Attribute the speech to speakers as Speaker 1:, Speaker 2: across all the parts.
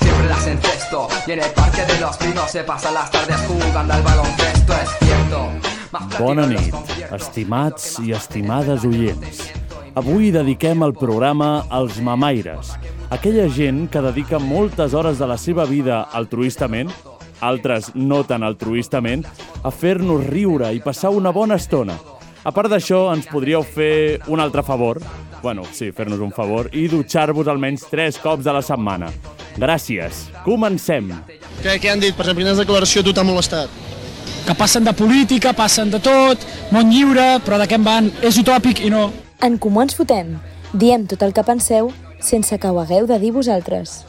Speaker 1: Siempre las encesto. Y en el parque de los pinos se pasan las tardes jugando al baloncesto, es cierto. Más
Speaker 2: Bona
Speaker 1: platino en los
Speaker 2: nit,
Speaker 1: conciertos.
Speaker 2: estimats i estimades oients. Avui dediquem el programa als mamaires, aquella gent que dedica moltes hores de la seva vida altruistament, altres no tan altruistament, a fer-nos riure i passar una bona estona. A part d'això, ens podríeu fer un altre favor, bueno, sí, fer-nos un favor, i dutxar-vos almenys tres cops a la setmana. Gràcies. Comencem.
Speaker 3: Què, què han dit? Per exemple, quines declaració a tu t'ha molestat?
Speaker 4: que passen de política, passen de tot, món lliure, però de què en van? És utòpic i no.
Speaker 5: En Comú Ens Fotem. Diem tot el que penseu sense que ho hagueu de dir vosaltres.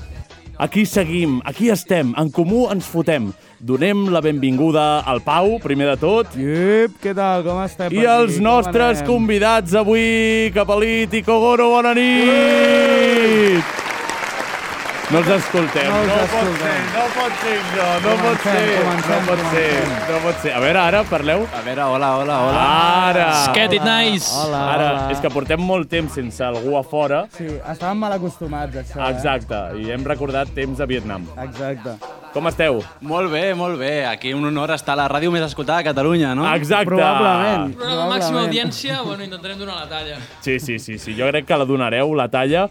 Speaker 2: Aquí seguim, aquí estem, en comú ens fotem. Donem la benvinguda al Pau, primer de tot,
Speaker 6: Iup, què tal? Com estem?
Speaker 2: i als nostres convidats avui, Capalit i Kogoro, bona nit! No els escoltem,
Speaker 6: No els
Speaker 2: no pot
Speaker 6: escoltem.
Speaker 2: ser, no pot ser això, no pot
Speaker 6: Comencem,
Speaker 2: ser, no
Speaker 6: comencem,
Speaker 2: pot ser,
Speaker 6: comencem.
Speaker 2: no pot ser. A veure, ara parleu?
Speaker 7: A veure, hola, hola, hola.
Speaker 2: Ara!
Speaker 4: Get it nice!
Speaker 6: Hola,
Speaker 2: Ara,
Speaker 6: hola.
Speaker 2: és que portem molt temps sense algú a fora,
Speaker 6: Sí, estàvem mal acostumats, a això. eh?
Speaker 2: exacte, i hem recordat temps de Vietnam.
Speaker 6: Exacte.
Speaker 2: Com esteu?
Speaker 7: Molt bé, molt bé. Aquí un honor estar a la ràdio més escoltada de Catalunya, no?
Speaker 2: Exacte!
Speaker 6: Probablement.
Speaker 8: Programa
Speaker 6: probablement.
Speaker 8: màxima audiència, bueno, intentarem donar la talla.
Speaker 2: Sí, sí, sí, sí. Jo crec que la donareu, la talla.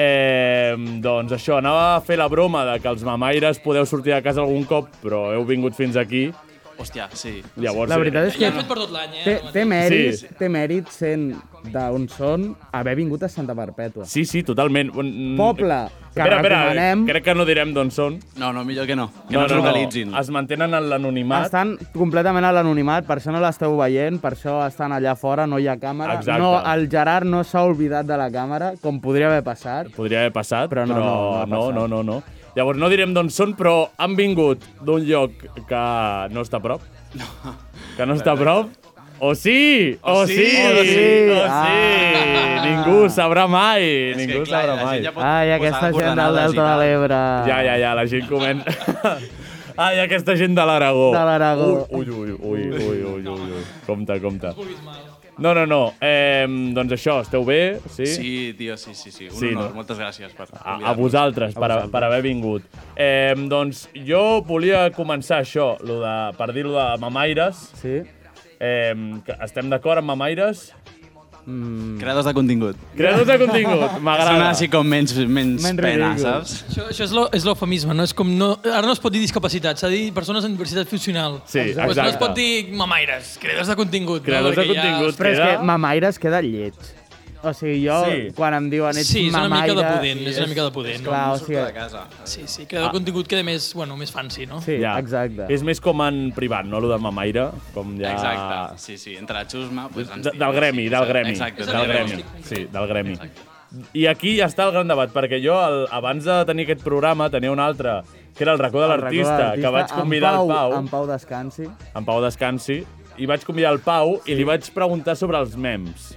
Speaker 2: Eh, doncs això, anava a fer la broma de que els mamaires podeu sortir de casa algun cop, però heu vingut fins aquí.
Speaker 7: Hòstia, sí.
Speaker 2: Llavors,
Speaker 6: La veritat és
Speaker 8: Ja
Speaker 6: que
Speaker 8: hem fet per tot l'any, eh?
Speaker 6: té, té mèrit,
Speaker 2: Sí.
Speaker 6: sí. té mèrit sent d'on són haver vingut a Santa Perpètua.
Speaker 2: Eh, sí, sí, totalment. Mm,
Speaker 6: Poble que
Speaker 2: espera, espera,
Speaker 6: recomanem
Speaker 2: crec que no direm d'on són.
Speaker 7: No, no, millor que no. Que no, no ens localitzin.
Speaker 2: Es mantenen en l'anonimat.
Speaker 6: estan completament a l'anonimat, per això no l'esteu veient, per això estan allà fora, no hi ha càmera.
Speaker 2: Exacte.
Speaker 6: No, el Gerard no s'ha oblidat de la càmera, com podria haver passat.
Speaker 2: Podria haver passat,
Speaker 6: Però no,
Speaker 2: però
Speaker 6: no, no ha
Speaker 2: no,
Speaker 6: passat.
Speaker 2: no, no, no. Llavors no direm d'on són, però han vingut d'un lloc que no està a prop. Que no està a prop. O sí! O,
Speaker 7: O
Speaker 2: sí!
Speaker 7: sí!
Speaker 2: O sí! O sí!
Speaker 6: Ah!
Speaker 2: Ningú sabrà mai!
Speaker 7: És que,
Speaker 2: Ningú
Speaker 7: clar,
Speaker 2: sabrà
Speaker 7: la
Speaker 2: mai.
Speaker 7: gent ja pot
Speaker 6: Ai,
Speaker 7: posar
Speaker 6: aquesta gent del
Speaker 7: coordenades i
Speaker 6: Delta de
Speaker 7: tal.
Speaker 6: l'Ebre.
Speaker 2: Ja, ja, ja, la gent comença... Ai, aquesta gent de l'Aragó.
Speaker 6: De l'Aragó.
Speaker 2: Ui, ui, ui, ui, ui, ui, ui, ui. Compte, compte. No, no, no. Eh, doncs això, esteu bé? Sí?
Speaker 7: Sí, tio, sí, sí, sí. Un
Speaker 2: Sí,
Speaker 7: sí, honor.
Speaker 2: no? Ah,
Speaker 7: No? Moltes gràcies per
Speaker 2: a, a vosaltres, per, a, per haver vingut. Eh, doncs jo volia començar això, lo de, per dir-ho de mamaires.
Speaker 6: Sí?
Speaker 2: Eh, que estem d'acord amb mamaires?
Speaker 7: Creadors de contingut.
Speaker 2: Creadors de contingut,
Speaker 7: Sona
Speaker 2: m'agrada.
Speaker 7: així com menys, menys,
Speaker 6: Menys
Speaker 7: pena,
Speaker 6: ridícul.
Speaker 7: saps?
Speaker 8: Això, això és lo- és l'eufemisme, no? És com no, ara no es pot dir discapacitat, s'ha de dir persones amb diversitat funcional.
Speaker 2: Sí,
Speaker 8: Pues no es
Speaker 2: exacte.
Speaker 8: pot dir mamaires, creadors de contingut.
Speaker 2: Creadores
Speaker 8: no?
Speaker 2: de
Speaker 8: Perquè
Speaker 2: contingut.
Speaker 6: Però és
Speaker 2: Queda-
Speaker 6: que mamaires queda lleig. O sigui, jo,
Speaker 2: Sí.
Speaker 6: sí. quan em diuen
Speaker 8: Ja...
Speaker 6: ets
Speaker 8: Sí, és una mica
Speaker 6: mamaire...
Speaker 8: de pudent, és una mica de pudent.
Speaker 6: Clar,
Speaker 7: No
Speaker 6: o
Speaker 7: surto de
Speaker 6: sigui...
Speaker 7: casa.
Speaker 8: Sí, sí, creador de
Speaker 2: Ah.
Speaker 8: contingut queda més, bueno, més fancy, no?
Speaker 6: Sí, ja. exacte.
Speaker 2: És més com en privat, no? Lo de mamaire, com ja...
Speaker 7: Exacte, sí, sí. Entre la xusma... Pues, ens
Speaker 2: Ah. De,
Speaker 7: diuen,
Speaker 2: del gremi,
Speaker 7: sí,
Speaker 2: del
Speaker 7: sí.
Speaker 2: gremi.
Speaker 7: Exacte,
Speaker 2: del gremi. Sí, del gremi. I aquí ja està el gran debat, perquè jo, el, abans de tenir aquest programa, tenia un altre, que era el racó de
Speaker 6: El record de
Speaker 2: l'artista, que vaig
Speaker 6: en
Speaker 2: convidar el Pau.
Speaker 6: En Pau descansi.
Speaker 2: en Pau descansi, i vaig convidar el Pau i li vaig preguntar sobre els memes.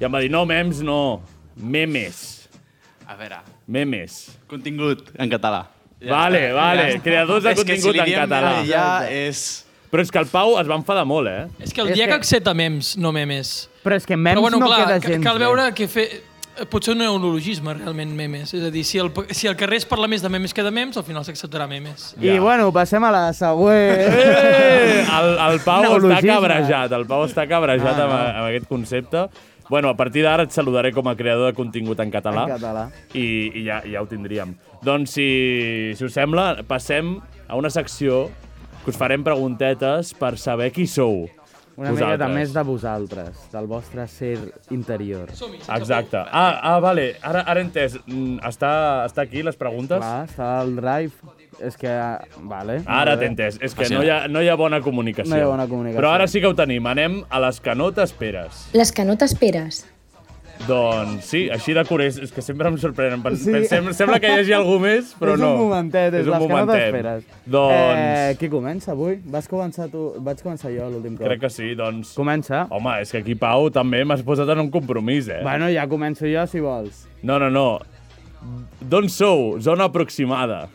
Speaker 2: I em va dir, no, memes no, memes,
Speaker 7: A veure,
Speaker 2: memes.
Speaker 7: contingut en català.
Speaker 2: Vale, vale, creadors de
Speaker 7: És que
Speaker 2: contingut
Speaker 7: si li
Speaker 2: en
Speaker 7: diem
Speaker 2: català.
Speaker 7: meme Ja és...
Speaker 2: Però és que el Pau es va enfadar molt, eh?
Speaker 8: És que el
Speaker 6: És
Speaker 8: dia que
Speaker 6: que-
Speaker 8: accepta memes, no memes.
Speaker 6: Però és que en memes
Speaker 8: Però bueno,
Speaker 6: no
Speaker 8: clar,
Speaker 6: queda
Speaker 8: ca-
Speaker 6: gens
Speaker 8: cal
Speaker 6: bé.
Speaker 8: veure que fer... eh, Potser un neologisme, realment, memes. És a dir, si el, si el carrer es parla més de memes que de memes, al final s'acceptarà memes.
Speaker 6: I bueno, passem a la següent.
Speaker 2: Eh! El, el Pau està
Speaker 6: Neologisme.
Speaker 2: cabrejat, el Pau està cabrejat ah, amb, amb aquest concepte. Bueno, a partir d'ara et saludaré com a creador de contingut en català.
Speaker 6: En català.
Speaker 2: I, i ja, ja ho tindríem. Doncs, si, si us sembla, passem a una secció que us farem preguntetes per saber qui sou.
Speaker 6: Una miqueta més de vosaltres, del vostre ser interior.
Speaker 8: Som-hi, sense
Speaker 2: Exacte. Ah, ah, vale. Ara, ara he entès. Mm, Està, està aquí, les preguntes?
Speaker 6: Clar, està el drive... És que... Vale.
Speaker 2: Ara
Speaker 6: molt
Speaker 2: t'he
Speaker 6: bé.
Speaker 2: entès. És que no hi, ha, no hi ha bona comunicació.
Speaker 6: No hi ha bona comunicació.
Speaker 2: Però ara sí que ho tenim. Anem a les que no t'esperes.
Speaker 5: Les que no t'esperes.
Speaker 2: Doncs sí, així de curiós. És que sempre em sorprenen. Pen
Speaker 6: Sí.
Speaker 2: sí. pensem, sembla que hi hagi algú més, però
Speaker 6: és
Speaker 2: no.
Speaker 6: un momentet, és,
Speaker 2: un
Speaker 6: les que no
Speaker 2: momentet.
Speaker 6: t'esperes. Eh,
Speaker 2: Doncs...
Speaker 6: qui comença avui? Vas començar tu... Vaig començar jo l'últim
Speaker 2: Eh...
Speaker 6: programa.
Speaker 2: Crec que sí, doncs...
Speaker 6: Comença.
Speaker 2: Home, és que aquí, Pau, també m'has posat en un compromís, eh?
Speaker 6: Bueno, ja començo jo, si vols.
Speaker 2: No, no, no. D'on sou? Zona aproximada.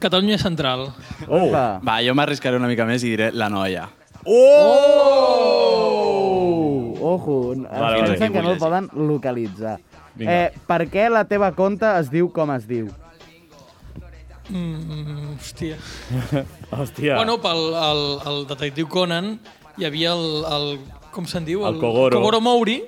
Speaker 8: Catalunya Central.
Speaker 2: Oh!
Speaker 6: Va.
Speaker 7: Va, jo m'arriscaré una mica més i diré la noia.
Speaker 6: Uh, ojo,
Speaker 2: vale,
Speaker 6: vale, pensa
Speaker 7: aquí
Speaker 6: que
Speaker 7: vull
Speaker 6: no el
Speaker 7: llegir.
Speaker 6: poden localitzar.
Speaker 2: Vinga.
Speaker 6: Eh, per què la teva conta es diu com es diu?
Speaker 8: Mm, hòstia.
Speaker 2: Hòstia.
Speaker 8: Bueno, pel el, el detectiu Conan hi havia el... el com se'n diu?
Speaker 2: El Kogoro.
Speaker 8: Kogoro Mouri.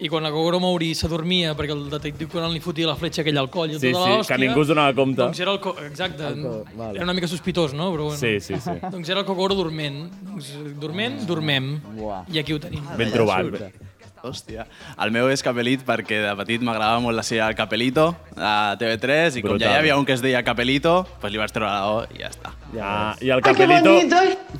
Speaker 8: I quan el Kogoro Mouri s'adormia perquè el detectiu Conan li fotia la fletxa aquella al coll i
Speaker 2: Sí,
Speaker 8: tota
Speaker 2: sí,
Speaker 8: l'hòstia,
Speaker 2: que ningú es donava compte.
Speaker 8: Doncs era el... Co Exacte. El
Speaker 6: co- vale.
Speaker 8: Era una mica sospitós, no? Però bueno.
Speaker 2: Sí, sí, sí.
Speaker 8: Doncs era el Kogoro dorment. Doncs, dorment, dormem.
Speaker 6: Buah.
Speaker 8: I aquí ho tenim.
Speaker 2: Ben trobat.
Speaker 7: Hòstia. El meu és Capelit perquè de petit m'agradava molt la sèrie del Capelito a TV3 i com ja
Speaker 2: Brutal.
Speaker 7: hi havia un que es deia Capelito, doncs li vaig treure la O i ja està.
Speaker 2: Ah, I el capelito...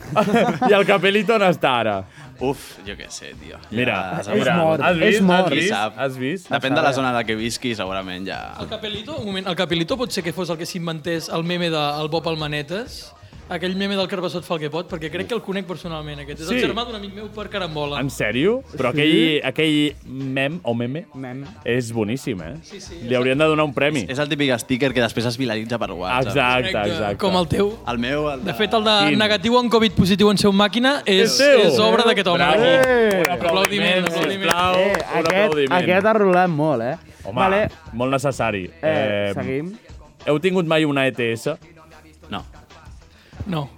Speaker 2: I el capelito on està ara?
Speaker 7: Uf, jo què sé, tio. Ja
Speaker 2: Mira,
Speaker 7: s'ha
Speaker 2: mira.
Speaker 6: mort,
Speaker 2: Has vist?
Speaker 6: és mort.
Speaker 2: Has
Speaker 7: Qui
Speaker 2: vist?
Speaker 7: sap?
Speaker 2: Has vist?
Speaker 7: Depèn de la zona en la que visqui, segurament ja...
Speaker 8: El Capelito, un moment, el Capelito pot ser que fos el que s'inventés el meme del Bob Almanetes, aquell meme del Carbassot fa el que pot, perquè crec que el conec personalment, aquest. És
Speaker 2: Sí.
Speaker 8: el germà d'un amic meu per carambola.
Speaker 2: En sèrio? Però aquell, aquell mem o meme
Speaker 6: Mem.
Speaker 2: és boníssim, eh? Sí, sí, Li haurien de donar un premi.
Speaker 7: És el típic sticker que després es viralitza per WhatsApp.
Speaker 2: Exacte,
Speaker 8: Correcte,
Speaker 2: exacte.
Speaker 8: Com el teu.
Speaker 7: El meu, el
Speaker 8: De fet, el de
Speaker 2: Quin?
Speaker 8: negatiu en Covid positiu en seu màquina és,
Speaker 2: És teu.
Speaker 8: és obra d'aquest home.
Speaker 2: Bravo.
Speaker 8: aquí.
Speaker 2: Un aplaudiment,
Speaker 8: Un aplaudiment.
Speaker 2: sisplau.
Speaker 6: Eh,
Speaker 2: Oh, un
Speaker 6: aquest,
Speaker 2: aplaudiment.
Speaker 6: aquest ha rolat molt, eh?
Speaker 2: Home,
Speaker 6: vale,
Speaker 2: molt necessari.
Speaker 6: eh, seguim.
Speaker 2: Heu tingut mai una E ETS?
Speaker 7: No.
Speaker 8: No.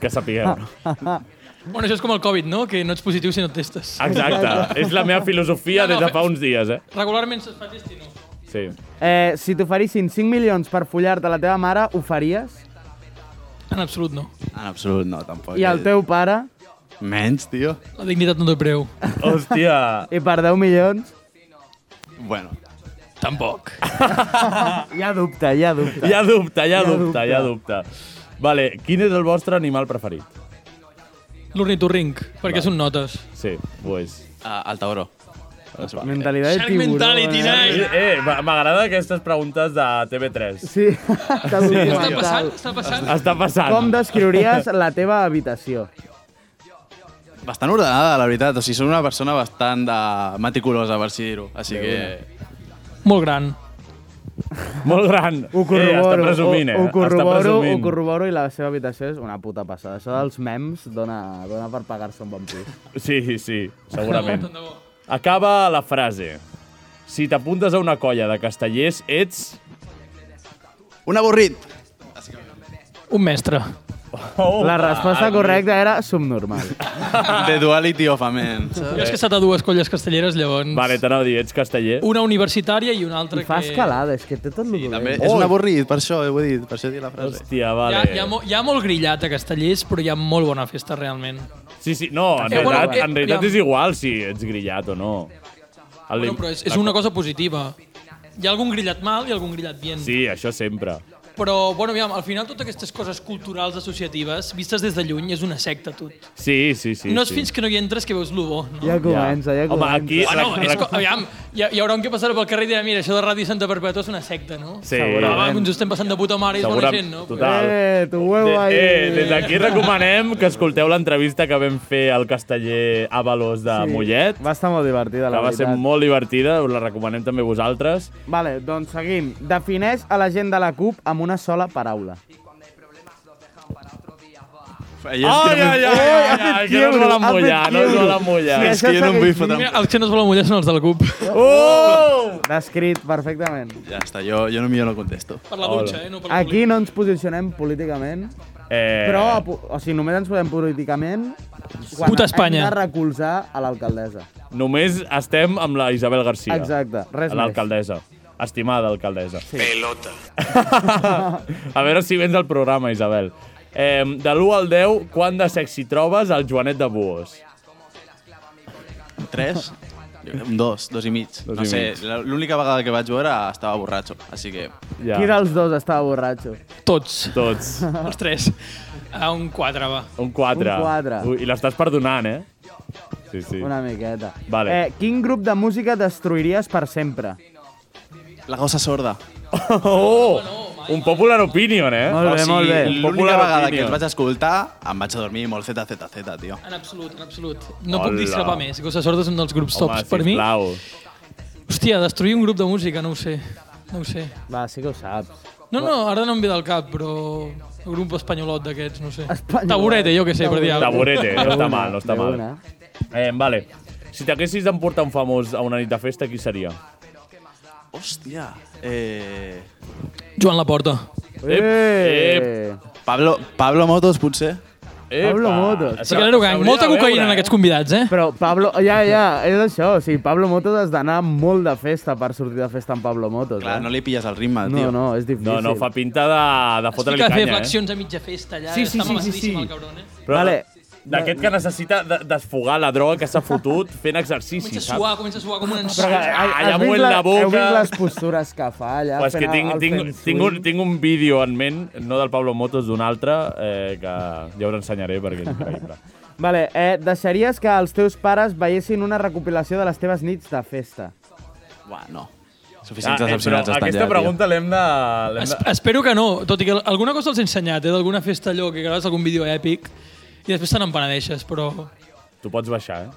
Speaker 2: Que
Speaker 6: Ah.
Speaker 2: sapigueu.
Speaker 8: Bueno, això és com el Covid, no? Que no ets positiu si no et testes.
Speaker 2: Ah. Exacte. és la meva filosofia
Speaker 8: No,
Speaker 2: des
Speaker 8: no,
Speaker 2: de fa uns dies, eh?
Speaker 8: Regularment se't fa test i no.
Speaker 2: Sí.
Speaker 6: Eh, si t'oferissin 5 milions per follar-te la teva mare, ho faries?
Speaker 8: En absolut no.
Speaker 7: En absolut no, tampoc. Eh,
Speaker 6: I
Speaker 2: Eh.
Speaker 6: el teu pare?
Speaker 7: Menys, tio.
Speaker 8: La dignitat no té preu.
Speaker 2: Hòstia.
Speaker 6: I per 10 milions?
Speaker 7: Bueno,
Speaker 8: Tampoc.
Speaker 6: Hi ha dubte, hi ha dubte.
Speaker 2: Hi ha dubte, hi ha dubte,
Speaker 6: dubte.
Speaker 2: hi ha dubte. Vale, quin és el vostre animal preferit?
Speaker 8: L'ornitorrinc, perquè són notes.
Speaker 2: Sí, ho és.
Speaker 7: uh, el tauró.
Speaker 6: Mentalitat de
Speaker 8: Shark
Speaker 6: tiburó.
Speaker 8: mentality,
Speaker 6: eh?
Speaker 8: nen!
Speaker 2: Eh, m'a- m'agrada aquestes preguntes de TV3.
Speaker 6: Sí, t'ha sí,
Speaker 8: Està passant? Està passant?
Speaker 2: Està passant.
Speaker 6: Com descriuries la teva habitació?
Speaker 2: Eh,
Speaker 7: Bastant ordenada, la veritat. O sigui, soc una persona bastant de... meticulosa, per si dir-ho. Així que...
Speaker 8: Molt gran.
Speaker 2: Molt gran. eh,
Speaker 6: Ho
Speaker 2: està
Speaker 6: corroboro,
Speaker 2: presumint, eh?
Speaker 6: ho, ho,
Speaker 2: està
Speaker 6: corroboro, ho
Speaker 2: presumint.
Speaker 6: corroboro i la seva habitació és una puta passada. Això dels mems dona, dona per pagar-se un bon pis.
Speaker 2: Sí, sí,
Speaker 8: Tant
Speaker 2: segurament.
Speaker 8: de bo.
Speaker 2: Acaba la frase. Si t'apuntes a una colla de castellers, ets...
Speaker 7: Un avorrit!
Speaker 8: Un mestre.
Speaker 2: Oh,
Speaker 6: La resposta correcta era subnormal.
Speaker 7: The duality of a man.
Speaker 8: Jo he estat a dues colles castelleres, llavors.
Speaker 2: Vale, t'anava a dir, ets casteller?
Speaker 8: Una universitària i una altra
Speaker 6: I fa
Speaker 8: que...
Speaker 6: escalada, és que té tot el
Speaker 7: I
Speaker 6: sí,
Speaker 7: també és un avorrit, per això, eh, ho he dit, per això he dit la frase.
Speaker 2: Hòstia,
Speaker 8: Hi ha,
Speaker 2: vale.
Speaker 8: hi, ha, mo- hi ha molt grillat a Castellers, però hi ha molt bona festa, realment.
Speaker 2: Sí, sí, no, en
Speaker 8: Eh, bueno,
Speaker 2: realitat,
Speaker 8: eh,
Speaker 2: en realitat
Speaker 8: aviam.
Speaker 2: és igual si ets grillat o no. El,
Speaker 8: Bueno, però és, és una cosa positiva. Hi ha algun grillat mal i algun grillat bien.
Speaker 2: Sí, això sempre.
Speaker 8: Però, bueno, aviam, al final totes aquestes coses culturals associatives, vistes des de lluny, és una secta, tot.
Speaker 2: Sí, sí, sí.
Speaker 8: no és
Speaker 2: sí.
Speaker 8: fins que no hi entres que veus lo bo, no?
Speaker 6: Ja comença, ja,
Speaker 2: Home,
Speaker 6: comença.
Speaker 2: aquí...
Speaker 8: Bueno,
Speaker 2: rec-
Speaker 8: és,
Speaker 2: rec-
Speaker 8: co- aviam, hi, ha- hi haurà un que passarà pel carrer i dirà, mira, això de Ràdio Santa Perpètua és una secta, no?
Speaker 2: Sí,
Speaker 8: Però,
Speaker 6: Segurament.
Speaker 8: home, ens ho estem passant de puta mare i és bona
Speaker 2: segurament,
Speaker 8: gent, no?
Speaker 2: total.
Speaker 6: Eh, tu
Speaker 2: De,
Speaker 6: huevo ahí.
Speaker 2: eh, des d'aquí recomanem que escolteu l'entrevista que vam fer al casteller Avalos de sí. Mollet,
Speaker 6: Va estar molt divertida,
Speaker 2: que
Speaker 6: la
Speaker 2: va ser
Speaker 6: veritat.
Speaker 2: molt divertida, us la recomanem també a vosaltres.
Speaker 6: Vale, doncs seguim. Defineix a la gent de la CUP amb una sola paraula.
Speaker 7: Ai,
Speaker 2: Ai, ai, ai, ai, ai, que no es volen
Speaker 6: Ha fet
Speaker 2: mullar, no es
Speaker 6: quiebro.
Speaker 2: volen mullar.
Speaker 6: Sí,
Speaker 7: És que
Speaker 6: això
Speaker 7: jo no em vull
Speaker 6: segueix.
Speaker 7: fotre...
Speaker 8: Mira, els que no es volen mullar són els de la CUP.
Speaker 2: Oh!
Speaker 6: Descrit perfectament.
Speaker 7: Ja està, jo, jo no millor no contesto.
Speaker 8: Per la dutxa, eh? No per
Speaker 6: Aquí no ens posicionem políticament,
Speaker 2: Eh,
Speaker 6: però apo- o sigui, només ens podem políticament quan
Speaker 8: Puta
Speaker 6: hem
Speaker 8: Espanya.
Speaker 6: de recolzar a l'alcaldessa.
Speaker 2: Només estem amb la Isabel Garcia.
Speaker 6: Exacte, res més.
Speaker 2: L'alcaldessa. Estimada alcaldessa. Sí. Pelota. a veure si vens al programa, Isabel. Eh, de l'1 al 10, quant de sexy trobes al Joanet de Buos?
Speaker 7: Tres? Un dos, dos i mig.
Speaker 2: Dos
Speaker 7: no
Speaker 2: i
Speaker 7: sé,
Speaker 2: mig.
Speaker 7: la- l'única vegada que vaig veure estava borratxo, així que...
Speaker 2: Ja.
Speaker 6: Qui dels dos estava borratxo?
Speaker 8: Tots.
Speaker 2: Tots.
Speaker 8: Els tres. A un quatre, va.
Speaker 2: Un 4.
Speaker 6: Un quatre.
Speaker 2: Ui, I l'estàs perdonant, eh? sí, sí.
Speaker 6: Una miqueta.
Speaker 2: Vale.
Speaker 6: Eh, quin grup de música destruiries per sempre?
Speaker 7: La gossa sorda.
Speaker 2: Oh! Un popular opinion, eh?
Speaker 6: Molt bé, molt bé.
Speaker 7: L'única vegada que
Speaker 2: opinion.
Speaker 7: els vaig escoltar, em vaig a dormir molt ZZZ, tio.
Speaker 8: En absolut, en absolut. No
Speaker 2: Hola.
Speaker 8: puc discrepar més. Gossa Sorda és un dels grups
Speaker 2: Home,
Speaker 8: tops per mi.
Speaker 2: sisplau.
Speaker 8: Hòstia, destruir un grup de música, no ho sé. No ho sé.
Speaker 6: Va, sí que ho saps.
Speaker 8: No, no, ara no em ve del cap, però... Un grup espanyolot d'aquests, no sé.
Speaker 6: Espanyolot.
Speaker 8: Taburete, jo què sé, per dir alguna cosa.
Speaker 2: Taburete, no està
Speaker 6: una,
Speaker 2: mal, no està
Speaker 6: de
Speaker 2: mal.
Speaker 6: una.
Speaker 2: Eh, vale. Si t'haguessis d'emportar un famós a una nit de festa, qui seria?
Speaker 7: Hòstia. Eh...
Speaker 8: Joan Laporta.
Speaker 6: Eh!
Speaker 7: Pablo, Pablo Motos, potser?
Speaker 6: Pablo
Speaker 2: Epa!
Speaker 6: Motos.
Speaker 8: Sí que l'Ero Gang,
Speaker 2: S'hauria
Speaker 8: molta
Speaker 2: de veure,
Speaker 8: cocaïna en
Speaker 2: eh?
Speaker 8: aquests convidats, eh?
Speaker 6: Però Pablo, ja, ja, és això. O sigui, Pablo Motos has d'anar molt de festa per sortir de festa amb Pablo Motos.
Speaker 7: Clar,
Speaker 6: eh?
Speaker 7: no li pilles el ritme,
Speaker 6: no,
Speaker 7: tio.
Speaker 6: no, és difícil.
Speaker 2: No, no, fa pinta de, de
Speaker 8: Es
Speaker 2: fotre-li
Speaker 8: fica a fer
Speaker 2: canya, eh?
Speaker 8: flexions a mitja festa allà,
Speaker 6: Sí, sí,
Speaker 8: està
Speaker 6: sí, sí,
Speaker 8: mamadíssim
Speaker 6: sí.
Speaker 8: el cabron, eh?
Speaker 2: Però
Speaker 6: Vale.
Speaker 2: D'aquest que necessita de- desfogar la droga que s'ha fotut fent exercici,
Speaker 8: Comença a
Speaker 2: saps?
Speaker 8: suar, comença a suar com un
Speaker 6: Però,
Speaker 8: encís.
Speaker 6: que-
Speaker 2: Ah,
Speaker 6: has
Speaker 2: ja
Speaker 6: vist
Speaker 2: movent la boca.
Speaker 6: Heu vist les postures que fa allà?
Speaker 2: Però és que
Speaker 6: fent
Speaker 2: tinc,
Speaker 6: el
Speaker 2: tinc,
Speaker 6: feng shui?
Speaker 2: tinc, un, tinc un vídeo en ment, no del Pablo Motos, d'un altre, eh, que ja us ensenyaré perquè és increïble.
Speaker 6: Vale, eh, deixaries que els teus pares veiessin una recopilació de les teves nits de festa?
Speaker 7: Buah, no.
Speaker 2: Ah,
Speaker 7: Suficients
Speaker 2: eh, però
Speaker 7: decepcionats estan
Speaker 2: aquesta
Speaker 7: ja, tio.
Speaker 2: pregunta l'hem de... l'hem
Speaker 8: Es
Speaker 2: de...
Speaker 8: espero que no, tot i que alguna cosa els he ensenyat, eh, d'alguna festa allò que graves algun vídeo èpic i després te n'empenedeixes, però...
Speaker 2: Tu pots baixar, eh?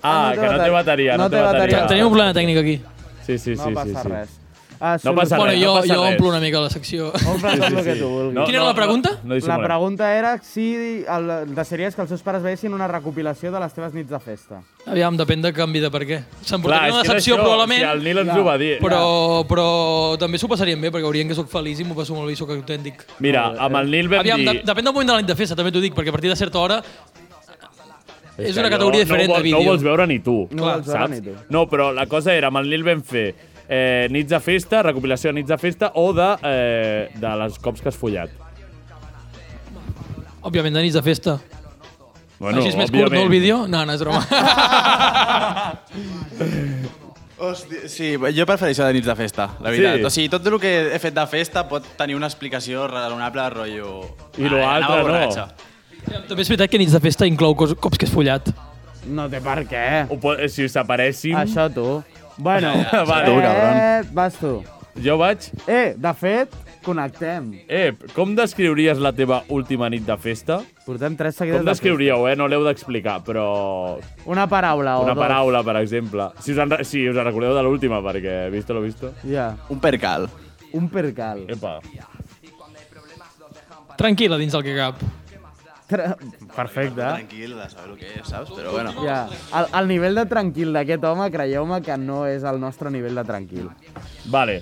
Speaker 2: Ah, que no té bateria, no té bateria.
Speaker 8: Te- Tenim un problema tècnic aquí.
Speaker 2: Sí, sí, sí.
Speaker 6: No passa
Speaker 2: sí, sí.
Speaker 6: res. Ah,
Speaker 2: No passa
Speaker 8: Bueno,
Speaker 2: res,
Speaker 8: jo,
Speaker 2: no passa
Speaker 8: jo
Speaker 2: res.
Speaker 8: omplo una mica la secció.
Speaker 6: Compres sí, sí, el que tu vulguis.
Speaker 8: Quina era la pregunta?
Speaker 2: No, no
Speaker 6: la
Speaker 2: dissimulem.
Speaker 6: pregunta era si el, deixaries que els teus pares veiessin una recopilació de les teves nits de festa.
Speaker 8: Aviam, depèn de canvi de per què.
Speaker 2: Clar,
Speaker 8: S'emportaria
Speaker 2: és
Speaker 8: una
Speaker 2: que és
Speaker 8: decepció,
Speaker 2: això,
Speaker 8: probablement,
Speaker 2: Si el Nil ens ho va dir. "Ah".
Speaker 8: però, però també s'ho passarien bé, perquè veurien que sóc feliç i m'ho passo molt bé i sóc autèntic.
Speaker 2: Mira, amb
Speaker 6: eh,
Speaker 2: el Nil vam
Speaker 8: Aviam, de,
Speaker 2: dir...
Speaker 8: depèn del moment de la nit de festa, també t'ho dic, perquè a partir de certa hora és
Speaker 2: que
Speaker 8: una categoria
Speaker 2: no,
Speaker 8: diferent
Speaker 2: no, ho
Speaker 8: de
Speaker 2: vol- No ho
Speaker 8: vídeo.
Speaker 2: vols veure ni tu,
Speaker 6: No ho vols veure
Speaker 2: saps?
Speaker 6: ni tu.
Speaker 2: No, però la cosa era, amb el Nil vam fer eh, nits de festa, recopilació de nits de festa o de, eh, de les cops que has follat.
Speaker 8: Òbviament, de nits de festa.
Speaker 2: Bueno,
Speaker 8: Així és més curt, no, el vídeo? No, no, és broma.
Speaker 7: Hòstia, sí, jo prefereixo de nits de festa, la veritat.
Speaker 2: Sí.
Speaker 7: O sigui, tot el que he fet de festa pot tenir una explicació raonable, rotllo...
Speaker 2: I lo
Speaker 7: anava
Speaker 2: altre no.
Speaker 7: borratxo.
Speaker 8: també és veritat que nits de festa inclou cos, cops que és follat.
Speaker 6: No té per què.
Speaker 2: Ho po- eh, si us separéssim...
Speaker 6: Això tu. Bueno,
Speaker 2: Vale.
Speaker 7: Tu, cabron.
Speaker 6: eh, vas tu.
Speaker 2: Jo vaig...
Speaker 6: Eh, de fet, connectem.
Speaker 2: Eh, com descriuries la teva última nit de festa?
Speaker 6: Portem tres seguides
Speaker 2: Com
Speaker 6: de festa.
Speaker 2: descriuríeu, eh? No l'heu d'explicar, però...
Speaker 6: Una paraula o
Speaker 2: Una
Speaker 6: dos.
Speaker 2: paraula, per exemple. Si us en, re- si us en recordeu de l'última, perquè visto lo visto.
Speaker 6: Ja,
Speaker 7: Un percal.
Speaker 6: un percal.
Speaker 2: Epa.
Speaker 8: Tranquil·la dins del que cap.
Speaker 6: Tra- Perfecte.
Speaker 7: Tranquil, de saber el que és, saps? Però bueno.
Speaker 6: Ja, el, el nivell de tranquil d'aquest home, creieu-me que no és el nostre nivell de tranquil.
Speaker 2: Vale.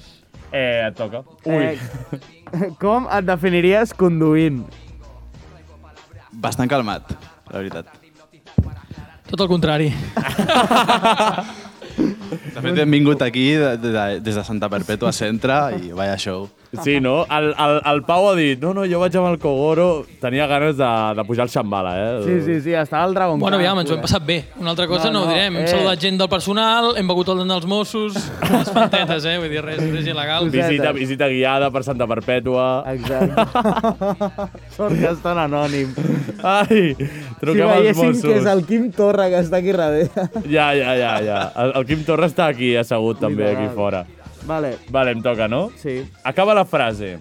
Speaker 2: Eh, et toca. Ui.
Speaker 6: Eh, com et definiries conduint?
Speaker 7: Bastant calmat, la veritat.
Speaker 8: Tot el contrari.
Speaker 7: De fet, hem vingut aquí de, de, de, des de Santa Perpètua Centre i vaya show.
Speaker 2: Sí, no? El, el, el Pau ha dit, no, no, jo vaig amb el Kogoro, tenia ganes de, de pujar el Shambhala, eh?
Speaker 6: Sí, sí, sí, estava el Dragon
Speaker 8: Bueno,
Speaker 6: Khan,
Speaker 8: aviam, ens ho hem
Speaker 6: eh?
Speaker 8: passat bé. Una altra cosa
Speaker 6: No,
Speaker 8: no,
Speaker 6: no,
Speaker 8: ho direm. Hem
Speaker 6: eh.
Speaker 8: saludat gent del personal, hem begut el dels Mossos, les fantetes, eh? Vull dir, res, res il·legal.
Speaker 2: Visita, visita guiada per Santa Perpètua.
Speaker 6: Exacte. Sort que és tan anònim.
Speaker 2: Ai,
Speaker 6: Si
Speaker 2: truquem als
Speaker 6: veiessin
Speaker 2: Mossos.
Speaker 6: que és el Quim Torra que està aquí darrere.
Speaker 2: Ja, ja, ja, ja. El, el Quim Torra està aquí assegut també,
Speaker 6: Literal.
Speaker 2: aquí fora.
Speaker 6: Vale,
Speaker 2: Vale, em toca, no?
Speaker 6: sí.
Speaker 2: Acaba la frase.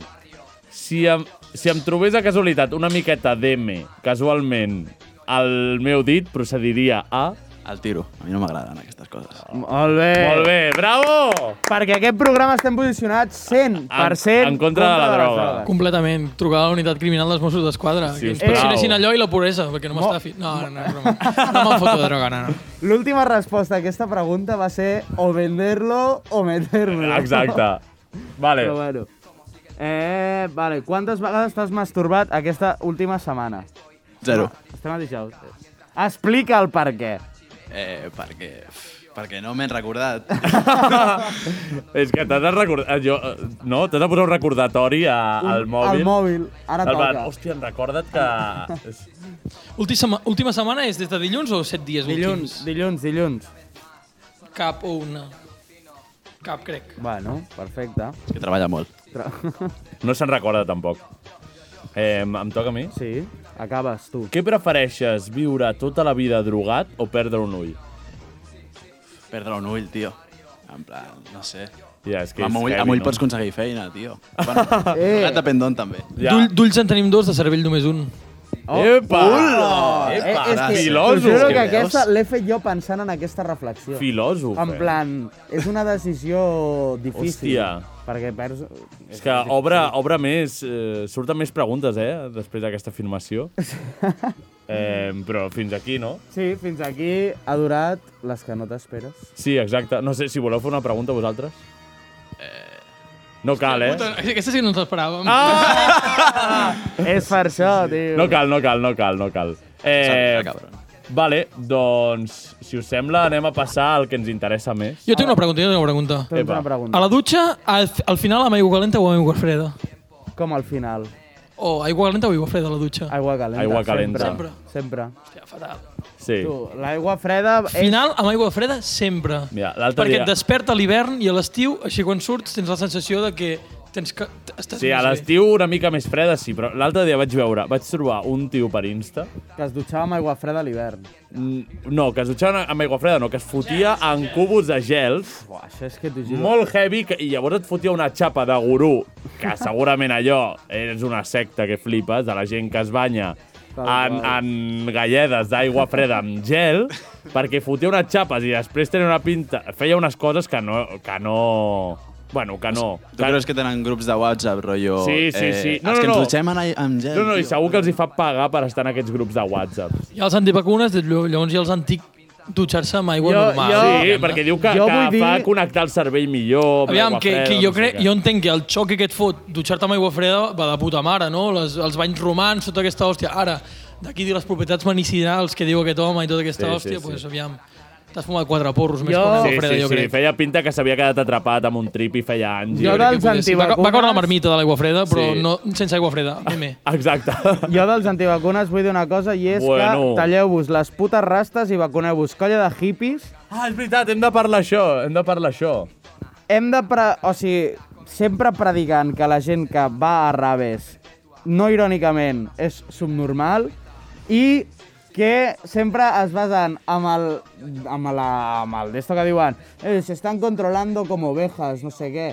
Speaker 2: Si em, si em trobés a casualitat una miqueta d'M, casualment, al meu dit, procediria a...
Speaker 7: Al tiro. A mi no m'agraden aquestes coses.
Speaker 6: Molt bé.
Speaker 2: Molt bé, bravo!
Speaker 6: Perquè aquest programa estem posicionats 100%
Speaker 2: en contra de la droga.
Speaker 8: Completament. Trucar a la unitat criminal dels Mossos d'Esquadra. Eh,
Speaker 2: Sí,
Speaker 8: Sí, que ens
Speaker 2: sisplau.
Speaker 8: pressionessin allò i la puresa, perquè no m'està... Fi... No, no, no, és broma. No me'n foto de droga, no, no.
Speaker 6: L'última resposta a aquesta pregunta va ser o venderlo o meterlo.
Speaker 2: Exacte. Vale.
Speaker 6: Però bueno. Eh, vale. Quantes vegades t'has masturbat aquesta última setmana?
Speaker 7: Zero.
Speaker 6: Estem a dijous. Explica el per què.
Speaker 7: Eh, perquè... Perquè no m'he recordat.
Speaker 2: És que t'has de recordar... Jo, eh, no? T'has de posar un recordatori a, al mòbil.
Speaker 6: Al mòbil. Ara
Speaker 2: Al plan,
Speaker 6: toca.
Speaker 2: Hòstia, recorda't que...
Speaker 8: Última, última setmana és des de dilluns o set dies
Speaker 6: Dilluns,
Speaker 8: últims?
Speaker 6: dilluns, dilluns.
Speaker 8: Cap o una. Cap, crec.
Speaker 6: Bueno, perfecte.
Speaker 7: És que treballa molt.
Speaker 6: Tra-
Speaker 2: no se'n recorda, tampoc. Eh, em em toca a mi?
Speaker 6: Sí. Acabes tu.
Speaker 2: Què prefereixes, viure tota la vida drogat o perdre un ull?
Speaker 7: Perdre un ull, tio. En plan, no sé.
Speaker 2: Ja, és que
Speaker 7: Amb
Speaker 2: és
Speaker 7: ull,
Speaker 2: heavy,
Speaker 7: amb ull
Speaker 2: no?
Speaker 7: pots aconseguir feina, tio. Bueno, eh. depèn d'on, també.
Speaker 2: Ja.
Speaker 8: D'ull- D'ulls en tenim dos, de cervell només un.
Speaker 2: Epa!
Speaker 7: Hola!
Speaker 2: Epa!
Speaker 6: Oh, Eh, és que-
Speaker 2: filòsof!
Speaker 6: Us juro
Speaker 7: Què
Speaker 6: que aquesta
Speaker 7: veus?
Speaker 6: l'he fet jo pensant en aquesta reflexió.
Speaker 2: Filòsof,
Speaker 6: En
Speaker 2: eh?
Speaker 6: plan, és una decisió difícil.
Speaker 2: Hòstia.
Speaker 6: Perquè perds...
Speaker 2: És que obre, obre més, eh, surten més preguntes, eh, després d'aquesta afirmació. eh, però fins aquí, no?
Speaker 6: Sí, fins aquí ha durat les que no t'esperes.
Speaker 2: Sí, exacte. No sé, si voleu fer una pregunta vosaltres.
Speaker 6: Eh,
Speaker 2: No cal, eh?
Speaker 8: Puta, Aquesta sí que no ens l'esperàvem.
Speaker 6: Ah, És per això, tio.
Speaker 2: No cal, no cal, no cal, no cal. Eh,
Speaker 7: Sap, cabrón.
Speaker 2: vale, doncs, si us sembla, anem a passar al que ens interessa més.
Speaker 8: Jo tinc una pregunta, jo tinc una pregunta.
Speaker 6: Tu tens
Speaker 2: Epa.
Speaker 6: una pregunta.
Speaker 8: A la dutxa, al, al final amb aigua calenta o amb aigua freda?
Speaker 6: Com al final.
Speaker 8: O aigua calenta o aigua freda a la dutxa?
Speaker 6: Aigua calenta.
Speaker 2: Aigua calenta.
Speaker 6: Sempre. Sempre.
Speaker 8: Hòstia, fatal.
Speaker 2: Sí.
Speaker 6: Tu, l'aigua freda... És...
Speaker 8: Final amb aigua freda sempre.
Speaker 2: Mira, l'altre
Speaker 8: Perquè
Speaker 2: dia-
Speaker 8: et desperta a l'hivern i a l'estiu, així quan surts, tens la sensació de que tens que... Estàs
Speaker 2: Sí, a
Speaker 8: més bé.
Speaker 2: l'estiu una mica més freda, sí, però l'altre dia vaig veure, vaig trobar un tio per Insta,
Speaker 6: Que es dutxava amb aigua freda a l'hivern.
Speaker 2: mm, no, que es dutxava amb aigua freda, no, que es fotia en cubos de gels,
Speaker 6: Buah, això és que t'ho juro.
Speaker 2: molt heavy que, i llavors et fotia una xapa de gurú, que segurament allò és una secta que flipes, de la gent que es banya en, en galledes d'aigua freda amb gel, perquè fotia unes xapes i després tenia una pinta... Feia unes coses que no... Que no bueno, que no.
Speaker 7: Tu creus que tenen grups de WhatsApp, rotllo...
Speaker 2: Sí, sí, sí.
Speaker 7: Eh,
Speaker 2: No,
Speaker 7: els que
Speaker 2: no, no.
Speaker 7: ens dutxem en, amb gel,
Speaker 2: No, no, i
Speaker 7: tio.
Speaker 2: segur que els hi fa pagar per estar en aquests grups de WhatsApp.
Speaker 8: Hi ha els antivacunes, llo- llavors hi ha els antic dutxar-se amb aigua
Speaker 6: Jo-
Speaker 8: normal.
Speaker 6: jo-
Speaker 2: Sí,
Speaker 8: diguem-ne.
Speaker 2: perquè diu que,
Speaker 6: Jo
Speaker 2: que
Speaker 6: vull
Speaker 2: fa
Speaker 6: dir-
Speaker 2: connectar el cervell millor... amb
Speaker 8: Aviam,
Speaker 2: l'aigua
Speaker 8: que,
Speaker 2: freda,
Speaker 8: que jo,
Speaker 2: no sé
Speaker 8: crec,
Speaker 2: què.
Speaker 8: jo entenc que el xoc que et fot dutxar-te amb aigua freda va de puta mare, no? Les, els banys romans, tota aquesta hòstia. Ara, d'aquí de les propietats medicinals que diu aquest home i tota
Speaker 2: Sí, sí,
Speaker 8: aquesta sí, hòstia,
Speaker 2: sí.
Speaker 8: sí, pues, aviam, t'has fumat quatre porros més
Speaker 6: Jo-
Speaker 8: que una aigua
Speaker 2: Sí,
Speaker 8: freda,
Speaker 2: sí,
Speaker 8: jo
Speaker 2: sí,
Speaker 8: crec.
Speaker 2: feia pinta que s'havia quedat atrapat amb un trip i feia anys. i-
Speaker 6: Jo
Speaker 8: crec que
Speaker 6: dels
Speaker 8: podia ser. Va- Va caure
Speaker 6: antivacunes-
Speaker 8: la marmita de l'aigua freda, però
Speaker 2: Sí.
Speaker 8: no, sense aigua freda. Meme.
Speaker 2: Exacte.
Speaker 6: Jo dels antivacunes vull dir una cosa i és
Speaker 2: Bueno.
Speaker 6: que talleu-vos les putes rastes i vacuneu-vos. Colla de hippies,
Speaker 2: Ah, és veritat, hem de parlar això, hem de parlar això.
Speaker 6: hem de... Pre... O sigui, sempre predicant que la gent que va a raves, no irònicament, és subnormal i que sempre es basen amb el, amb la, amb el d'esto que diuen eh, se estan controlando com ovejas, no sé què.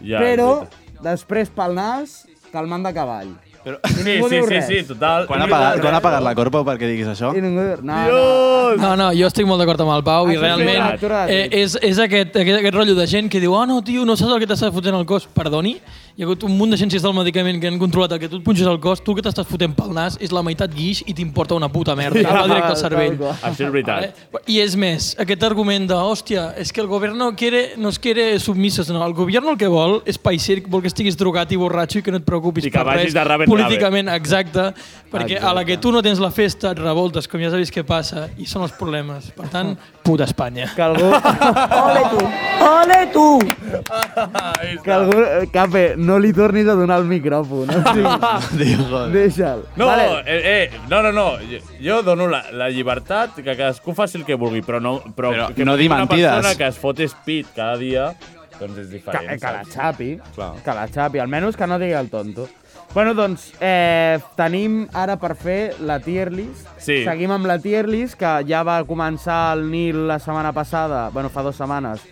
Speaker 2: Ja,
Speaker 6: Però
Speaker 2: és
Speaker 6: després pel nas, calmant de cavall.
Speaker 2: Sí,
Speaker 6: Ningú
Speaker 2: sí,
Speaker 6: diu
Speaker 2: sí,
Speaker 6: res.
Speaker 2: sí, total.
Speaker 7: Quan ha pagat, quan ha pagat la corpo perquè diguis això?
Speaker 6: I ningú diu... No, no.
Speaker 2: Dios!
Speaker 8: No, no, jo estic molt d'acord amb el Pau i
Speaker 6: Això és
Speaker 8: realment
Speaker 6: veritat, tu l'has
Speaker 8: eh,
Speaker 6: dit.
Speaker 8: és, és aquest, aquest, aquest rotllo de gent que diu ah, no, tio, no saps el que t'estàs fotent al cos. Perdoni, hi ha hagut un munt de ciències del medicament que han controlat el que tu et punxes al cos, tu el que t'estàs fotent pel nas és la meitat guix i t'importa una puta merda. Ja, va directe al
Speaker 6: tal
Speaker 8: cervell.
Speaker 6: qual.
Speaker 2: Això és veritat.
Speaker 8: Vale? I és més, aquest argument de, hòstia, és que el govern no quiere, no es quiere submisos, no. El govern el que vol és paisir, vol que estiguis drogat i borratxo i que no et preocupis
Speaker 2: I que
Speaker 8: per
Speaker 2: vagis
Speaker 8: res.
Speaker 2: de rave en
Speaker 8: políticament, exacte, perquè a la que tu no tens la festa et revoltes, com ja sabis què passa, i són els problemes. Per tant, puta Espanya.
Speaker 6: que algú... Ole tu! Ole tu! que algú... eh, Cape, no li tornis a donar el micròfon. O sigui,
Speaker 7: Diu, joder.
Speaker 6: Deixa'l.
Speaker 2: No, eh, eh, no, no, no. Jo, jo dono la, la llibertat que cadascú faci el que vulgui, però no, però,
Speaker 7: Però
Speaker 2: que
Speaker 7: no dir
Speaker 2: una
Speaker 7: mentides.
Speaker 2: persona que es fot speed cada dia, doncs és
Speaker 6: Que,
Speaker 2: diferent.
Speaker 6: eh, que la
Speaker 2: saps?
Speaker 6: xapi.
Speaker 2: Clar.
Speaker 6: Que la xapi, almenys que no digui el tonto. Bueno, doncs, eh, tenim ara per fer la tier list.
Speaker 2: Sí.
Speaker 6: Seguim amb la tier list, que ja va començar el Nil la setmana passada, bueno, fa dues setmanes,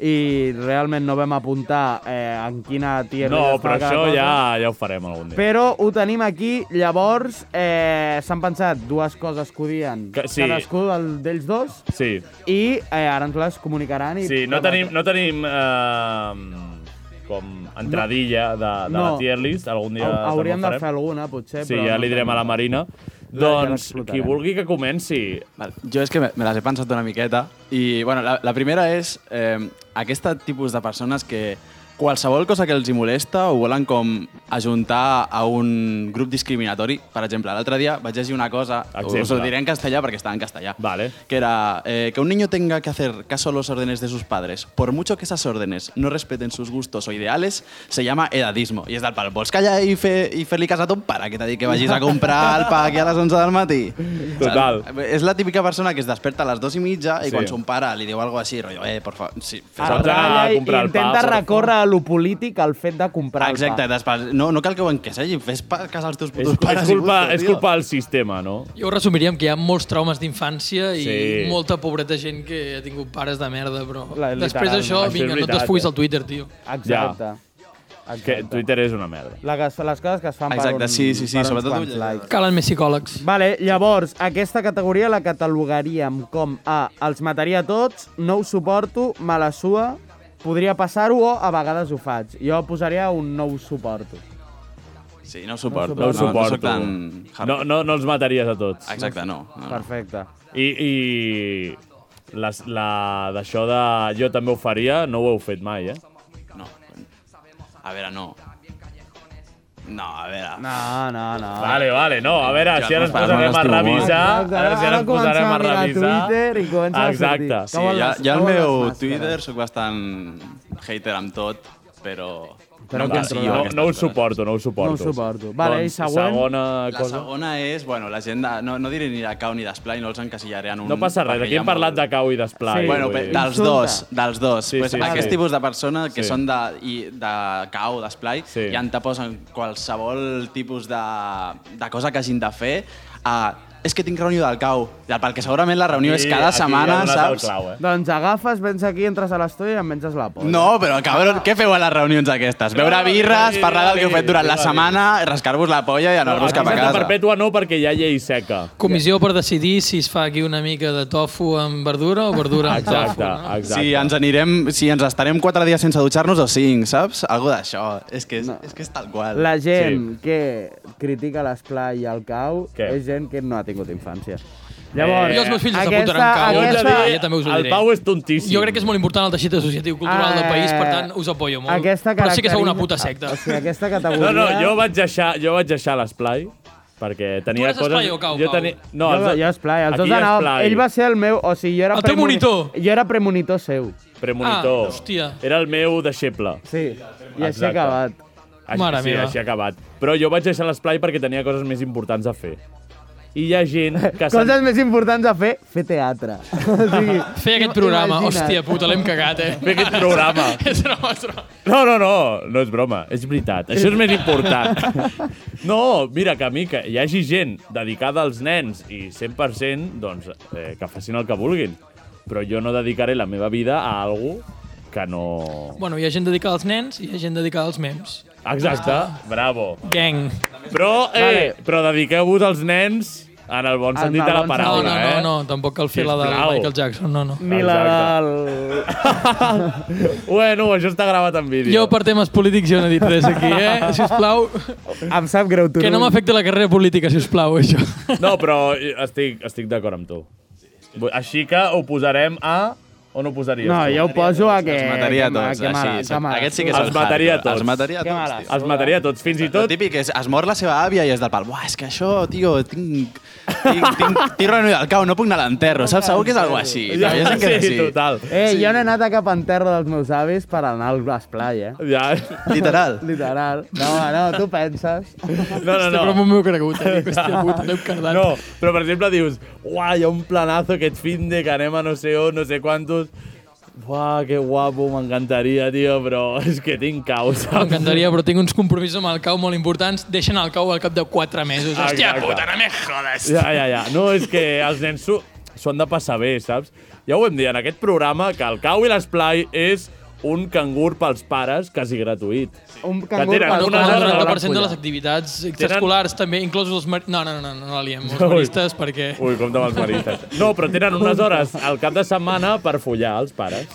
Speaker 6: i realment no vam apuntar eh, en quina tier
Speaker 2: No,
Speaker 6: list
Speaker 2: però
Speaker 6: estava cada
Speaker 2: això
Speaker 6: cosa.
Speaker 2: ja, ja ho farem algun dia.
Speaker 6: Però ho tenim aquí, llavors eh, s'han pensat dues coses que odien
Speaker 2: Que- sí.
Speaker 6: cadascú del- d'ells dos
Speaker 2: Sí,
Speaker 6: i eh, ara ens les comunicaran. I
Speaker 2: sí, no tenim, no tenim eh, com entradilla de, de
Speaker 6: No.
Speaker 2: la tier list, algun dia
Speaker 6: Ha- Hauríem de
Speaker 2: també ho
Speaker 6: fer
Speaker 2: farem.
Speaker 6: alguna, potser.
Speaker 2: Sí,
Speaker 6: però
Speaker 2: ja
Speaker 6: no
Speaker 2: li direm a la
Speaker 6: tenim.
Speaker 2: Marina.
Speaker 6: Ja
Speaker 2: Doncs
Speaker 6: l'explotarem.
Speaker 2: qui vulgui que comenci.
Speaker 7: Vale, Jo és que me me les he pensat una miqueta i bueno, la, la primera és eh, aquest tipus de persones que qualsevol cosa que els hi molesta ho volen com ajuntar a un grup discriminatori. Per exemple, l'altre dia vaig llegir una cosa,
Speaker 2: Exemple.
Speaker 7: us ho diré en castellà perquè està en castellà,
Speaker 2: Vale.
Speaker 7: que era eh, que un niño tenga que hacer caso a los órdenes de sus padres, por mucho que esas órdenes no respeten sus gustos o ideales, se llama edadismo. I és del pal, vols callar i fer-li i fer cas a ton pare, que t'ha dit que vagis a comprar el pa aquí a les 11 del matí?
Speaker 2: Total.
Speaker 7: Saps? És la típica persona que es desperta a les dues i mitja i
Speaker 2: Sí.
Speaker 7: sí. quan son pare li diu alguna cosa així, rotllo, eh, por favor, sí, fes
Speaker 2: Saps?
Speaker 7: algo.
Speaker 2: anar a
Speaker 6: Arralla i
Speaker 2: comprar el eh? pa,
Speaker 6: intenta
Speaker 2: per
Speaker 6: recórrer a lo polític al fet de comprar
Speaker 7: Exacte,
Speaker 6: el pa.
Speaker 7: després, no, no cal que ho enquessegin, fes pa, casa els teus
Speaker 2: És,
Speaker 7: putos pares.
Speaker 2: és,
Speaker 7: i
Speaker 2: culpa,
Speaker 7: busca,
Speaker 2: és
Speaker 7: tio.
Speaker 2: culpa del sistema, no?
Speaker 8: Jo ho resumiríem que hi ha molts traumes d'infància i
Speaker 2: Sí.
Speaker 8: molta pobreta gent que ha tingut pares de merda, però
Speaker 6: La-
Speaker 8: després d'això,
Speaker 2: literalment. Això és
Speaker 8: vinga, no
Speaker 2: veritat,
Speaker 8: t'esfuguis
Speaker 2: eh?
Speaker 8: al Twitter, tio.
Speaker 6: Exacte. Exacte.
Speaker 2: Que Twitter és una merda.
Speaker 6: La, que- les coses que es fan
Speaker 7: Exacte,
Speaker 6: per un,
Speaker 7: sí, sí, sí,
Speaker 6: per uns
Speaker 7: sobretot
Speaker 6: quants
Speaker 7: ull-
Speaker 6: likes.
Speaker 8: Calen més psicòlegs.
Speaker 6: Vale, llavors, aquesta categoria la catalogaríem com A, els mataria a tots, no ho suporto, me la sua, podria passar-ho o a vegades ho faig. Jo posaria un no ho suporto.
Speaker 7: Ah, Sí, no ho suporto.
Speaker 2: No ho
Speaker 7: No,
Speaker 2: suporto.
Speaker 7: soc tan...
Speaker 2: No, no, no els mataries a tots.
Speaker 7: Exacte, no. no.
Speaker 6: Perfecte.
Speaker 2: I, i la, la d'això de jo també ho faria, no ho heu fet mai, eh?
Speaker 7: no. A veure, no. No, a veure. No.
Speaker 6: No, no, no.
Speaker 2: Vale, vale, no, a veure,
Speaker 7: Ja,
Speaker 2: si ara ens
Speaker 7: no,
Speaker 2: posarem a
Speaker 7: no, no,
Speaker 2: revisar...
Speaker 6: Exacte,
Speaker 2: Ara, si
Speaker 6: ara
Speaker 2: ara ens posarem
Speaker 6: comencem
Speaker 2: a
Speaker 6: a mirar
Speaker 2: revisar...
Speaker 6: Twitter i comença a sortir.
Speaker 2: Exacte.
Speaker 7: Sí,
Speaker 6: Cauen
Speaker 7: ja,
Speaker 6: les-
Speaker 7: ja al
Speaker 6: cauen les
Speaker 7: meu
Speaker 6: màscares.
Speaker 7: Twitter sóc bastant hater amb tot, però...
Speaker 6: Però
Speaker 7: no
Speaker 6: que
Speaker 7: vacil·lo
Speaker 2: no,
Speaker 7: aquestes
Speaker 2: no ho
Speaker 7: coses.
Speaker 2: suporto, no ho suporto.
Speaker 6: No ho suporto. Vale, i següent?
Speaker 2: Segona
Speaker 7: La
Speaker 2: cosa.
Speaker 7: segona és, bueno, la gent, de, no, no diré ni de cau ni d'esplai, no els encasillaré en un...
Speaker 2: No passa res,
Speaker 7: perquè
Speaker 2: aquí
Speaker 7: hi ha
Speaker 2: hem parlat
Speaker 7: molt-
Speaker 2: de cau i d'esplai.
Speaker 6: Sí.
Speaker 7: Bueno,
Speaker 2: vull
Speaker 7: pe,
Speaker 2: dir.
Speaker 7: dels
Speaker 6: Insulta.
Speaker 7: dos, dels dos.
Speaker 2: eh, Sí,
Speaker 7: Sí, pues
Speaker 2: sí,
Speaker 7: sí,
Speaker 2: sí.
Speaker 7: aquest tipus de persona que
Speaker 2: Sí.
Speaker 7: sí. són de, i, de cau, d'esplai,
Speaker 2: Sí.
Speaker 7: sí. i en te posen qualsevol tipus de, de cosa que hagin de fer a... És que tinc reunió del cau, perquè segurament la reunió
Speaker 2: Aquí-
Speaker 7: és cada
Speaker 2: aquí
Speaker 7: setmana,
Speaker 2: ha donat el
Speaker 7: saps?
Speaker 2: Clau, eh?
Speaker 6: Doncs agafes, vens aquí, entres a l'estudi i em menges la por.
Speaker 7: No, però cabron, què feu a les reunions aquestes? Beure
Speaker 2: No,
Speaker 7: birres,
Speaker 2: sí,
Speaker 7: parlar del que heu fet durant
Speaker 2: sí,
Speaker 7: la
Speaker 2: sí.
Speaker 7: setmana, rascar-vos la polla i anar-vos cap a
Speaker 2: Aquesta
Speaker 7: casa.
Speaker 2: perpètua no, perquè hi ha llei seca.
Speaker 8: Comissió per decidir si es fa aquí una mica de tofu amb verdura o verdura amb tofu.
Speaker 2: Exacte,
Speaker 8: No?
Speaker 2: exacte.
Speaker 7: Si ens anirem, si ens estarem quatre dies sense dutxar-nos o cinc, saps? Algo d'això. És que és, no. és que és tal qual.
Speaker 6: La gent sí. que critica l'esplai i el cau
Speaker 2: Què? Eh.
Speaker 6: és gent que no ha tingut infància. Llavors,
Speaker 8: Jo els meus fills
Speaker 6: aquesta-
Speaker 8: s'apuntaran cau.
Speaker 6: Ah,
Speaker 2: Jo,
Speaker 8: Ja
Speaker 2: us he
Speaker 8: està,
Speaker 2: de dir,
Speaker 8: ja també us ho
Speaker 2: el
Speaker 8: diré.
Speaker 2: Pau és tontíssim.
Speaker 8: Jo crec que és molt important el teixit associatiu cultural del país, per tant, us apoyo molt.
Speaker 6: Ah, eh, Aquesta
Speaker 8: Però sí que sou
Speaker 6: caracteritza-
Speaker 8: una
Speaker 6: Ah,
Speaker 8: puta secta.
Speaker 6: O sigui, aquesta
Speaker 2: No,
Speaker 6: categoria...
Speaker 2: no, jo vaig deixar, jo vaig deixar l'esplai perquè tenia
Speaker 8: eres
Speaker 2: coses...
Speaker 8: esplai o cau,
Speaker 2: jo
Speaker 8: Pau?
Speaker 2: tenia... No,
Speaker 6: Jo,
Speaker 2: els do-
Speaker 6: jo esplai, els
Speaker 2: aquí
Speaker 6: dos anàvem...
Speaker 2: esplai.
Speaker 6: Ell va ser el meu... O sigui, jo era
Speaker 8: El teu
Speaker 6: premoni-
Speaker 8: monitor.
Speaker 6: Jo era premonitor seu.
Speaker 2: Premonitor.
Speaker 8: Ah, hòstia.
Speaker 2: Era el meu deixeble.
Speaker 6: Sí, i així
Speaker 2: Exacte.
Speaker 6: ha acabat.
Speaker 2: Així,
Speaker 8: Mare
Speaker 2: sí,
Speaker 8: meva.
Speaker 2: així ha acabat. Però jo vaig deixar l'esplai perquè tenia coses més importants a fer. I hi ha gent que... se'n-
Speaker 6: Coses més importants a fer, fer teatre. o sigui,
Speaker 8: Fer aquest programa,
Speaker 6: imagina't.
Speaker 8: hòstia puta, l'hem cagat, eh?
Speaker 2: Fer aquest programa.
Speaker 8: és broma, és broma.
Speaker 2: No, no, no, no és broma, és veritat. Això és més important. No, mira, que a mi que hi hagi gent dedicada als nens i 100%, doncs, eh, que facin el que vulguin. Però jo no dedicaré la meva vida a algú que no...
Speaker 8: Bueno, hi ha gent dedicada als nens i hi ha gent dedicada als mems.
Speaker 2: Exacte, bravo.
Speaker 8: Gang.
Speaker 2: Però, eh, però dediqueu-vos als nens en el bon
Speaker 6: En
Speaker 2: sentit
Speaker 6: el
Speaker 2: de la
Speaker 6: bon
Speaker 8: No,
Speaker 2: paraula,
Speaker 8: no,
Speaker 2: eh?
Speaker 8: no, no, tampoc cal fer la de
Speaker 2: Sisplau.
Speaker 8: Michael Jackson, no, no.
Speaker 6: Ni la del...
Speaker 2: Bueno, això està gravat en vídeo.
Speaker 8: Jo per temes polítics jo no he dit res aquí, eh? Sisplau,
Speaker 6: Em sap greu, tu.
Speaker 8: que no m'afecti la carrera política, sisplau, això.
Speaker 2: No, però estic, estic d'acord amb tu. Així que ho posarem a... On ho posaries?
Speaker 6: No,
Speaker 2: tu?
Speaker 6: jo ho poso a que...
Speaker 7: Els mataria a
Speaker 6: Eh, que ma-
Speaker 7: tots,
Speaker 6: que ma-
Speaker 7: així.
Speaker 6: que ma-
Speaker 7: Aquests sí que
Speaker 2: Els
Speaker 7: són
Speaker 2: mataria a
Speaker 7: hardcore,
Speaker 2: tots.
Speaker 7: Els mataria a
Speaker 6: Que mala
Speaker 7: tots, tio.
Speaker 2: Els mataria a tots, fins i
Speaker 7: Tot...
Speaker 2: tot...
Speaker 7: El típic és, es mor la seva àvia i és del pal, buah, és que això, tio, tinc, tinc, tinc, tinc reunió del cau, no puc anar a l'enterro, saps? Segur que és algo així. Ja, ja sé que és
Speaker 2: sí,
Speaker 7: així.
Speaker 2: total.
Speaker 6: Eh, sí. jo no he anat a cap enterro dels meus avis per anar al esplai, eh?
Speaker 2: Ja.
Speaker 7: Literal.
Speaker 6: Literal. No, home, no, tu penses.
Speaker 2: No, no,
Speaker 8: Però
Speaker 2: no.
Speaker 8: m'ho heu cregut, eh? Dic, Hòstia puta, l'hem cardat.
Speaker 2: No, però per exemple dius, uah, hi ha un planazo aquest fin de que anem a no sé on, no sé quantos... Uah, que guapo, m'encantaria, tio, però és que tinc caos.
Speaker 8: M'encantaria, però tinc uns compromisos amb el cau molt importants. Deixen el cau al cap de 4 mesos. Hòstia
Speaker 2: Exacte.
Speaker 8: puta, no me jodes.
Speaker 2: Ja, ja, ja. No, és que els nens s'ho s'ho han de passar bé, saps? Ja ho hem dit en aquest programa, que el cau i l'esplai és un cangur pels pares quasi gratuït.
Speaker 6: Un
Speaker 2: Que tenen
Speaker 8: Bueno,
Speaker 6: pels
Speaker 8: com
Speaker 2: algunes
Speaker 8: el
Speaker 2: hores a la
Speaker 8: 90% de
Speaker 2: barcolla.
Speaker 8: les activitats
Speaker 2: Tenen-
Speaker 8: extraescolars, també, inclosos els... Mar... No, no, no, no, no la liem, els
Speaker 2: Ui.
Speaker 8: maristes, perquè...
Speaker 2: Ui, compte amb els marites. No, però tenen unes hores al cap de setmana per follar els pares.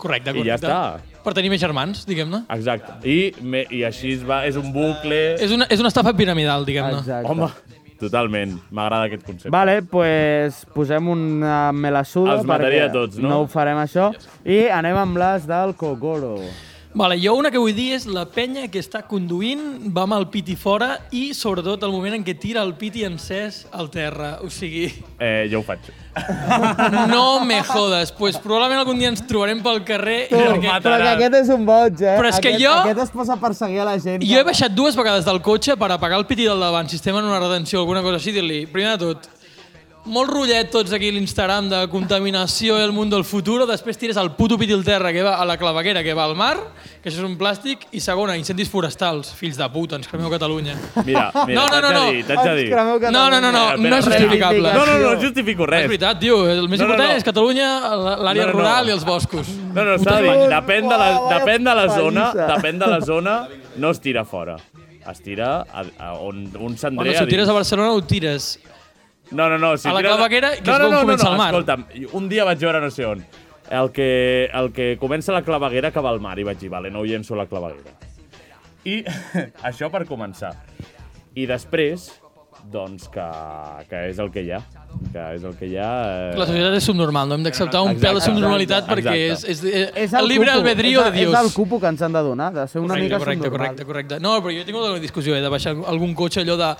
Speaker 8: Correcte, correcte.
Speaker 2: I ja està.
Speaker 8: Per tenir més germans, diguem-ne.
Speaker 2: Exacte. I, me, i així es va, és un bucle...
Speaker 8: És una, és una estafa piramidal, diguem-ne.
Speaker 6: Exacte.
Speaker 2: Home, totalment. M'agrada aquest concepte.
Speaker 6: Vale, doncs pues, posem una melassuda
Speaker 2: Els mataria
Speaker 6: perquè
Speaker 2: a tots, no?
Speaker 6: no ho farem això. I anem amb les del Kokoro.
Speaker 8: Vale, jo una que vull dir és la penya que està conduint, va amb el piti fora i sobretot el moment en què tira el piti encès al terra. O sigui,
Speaker 2: Eh, jo ho faig.
Speaker 8: no me jodes. Pues probablement algun dia ens trobarem pel carrer i perquè...
Speaker 6: Però que aquest és un boig, eh?
Speaker 8: Però és que
Speaker 6: aquest,
Speaker 8: jo-
Speaker 6: Aquest es posa a perseguir a la gent.
Speaker 8: Jo he baixat dues vegades del cotxe per apagar el piti del davant, si estem en una retenció o alguna cosa així, dir-li, primer de tot, molt rotllet tots aquí a l'Instagram de contaminació i el món del futur, després tires el puto pitil terra que va a la claveguera, que va al mar, que això és un plàstic, i segona, incendis forestals, fills de puta, ens cremeu Catalunya.
Speaker 2: Mira, mira,
Speaker 8: No, no, no,
Speaker 2: t'haig de
Speaker 8: no.
Speaker 2: dir, t'haig de dir.
Speaker 6: Ens cremeu
Speaker 8: No, no, no, no,
Speaker 2: Espera,
Speaker 8: no és
Speaker 2: espera.
Speaker 8: justificable.
Speaker 2: No, no, no, no justifico
Speaker 8: És
Speaker 2: res.
Speaker 8: veritat, tio, el
Speaker 2: No, no,
Speaker 8: més important
Speaker 2: no.
Speaker 8: és Catalunya, la- l'àrea
Speaker 2: No, no, no.
Speaker 8: rural i els boscos.
Speaker 2: No, no, s'ha de dir, depèn de la, depèn de la zona, depèn de la zona, no es tira fora. Es tira a, a on un
Speaker 8: Bueno,
Speaker 2: cendrer
Speaker 8: si ho tires
Speaker 2: dins.
Speaker 8: a Barcelona ho tires.
Speaker 2: No, no, no. Si
Speaker 8: A la
Speaker 2: tira-
Speaker 8: claveguera, que és com comença el mar.
Speaker 2: Escolta'm, un dia vaig veure no sé on. El que, el que comença la claveguera que va al mar i vaig dir, vale, no ho llenço a la claveguera. I això per començar. I després, doncs que, que és el que hi ha. Que és el que hi ha... Eh...
Speaker 8: La societat és subnormal, no hem d'acceptar un
Speaker 2: Exacte,
Speaker 8: pèl de subnormalitat
Speaker 2: exacte,
Speaker 8: perquè és,
Speaker 2: exacte.
Speaker 8: és, és, el llibre albedrío
Speaker 6: és,
Speaker 8: de Dios.
Speaker 6: És el cupo que ens han de donar, de ser una
Speaker 8: correcte,
Speaker 6: mica
Speaker 8: correcte,
Speaker 6: subnormal.
Speaker 8: correcte, correcte. No, però jo he tingut una discussió eh, de baixar algun cotxe, allò de...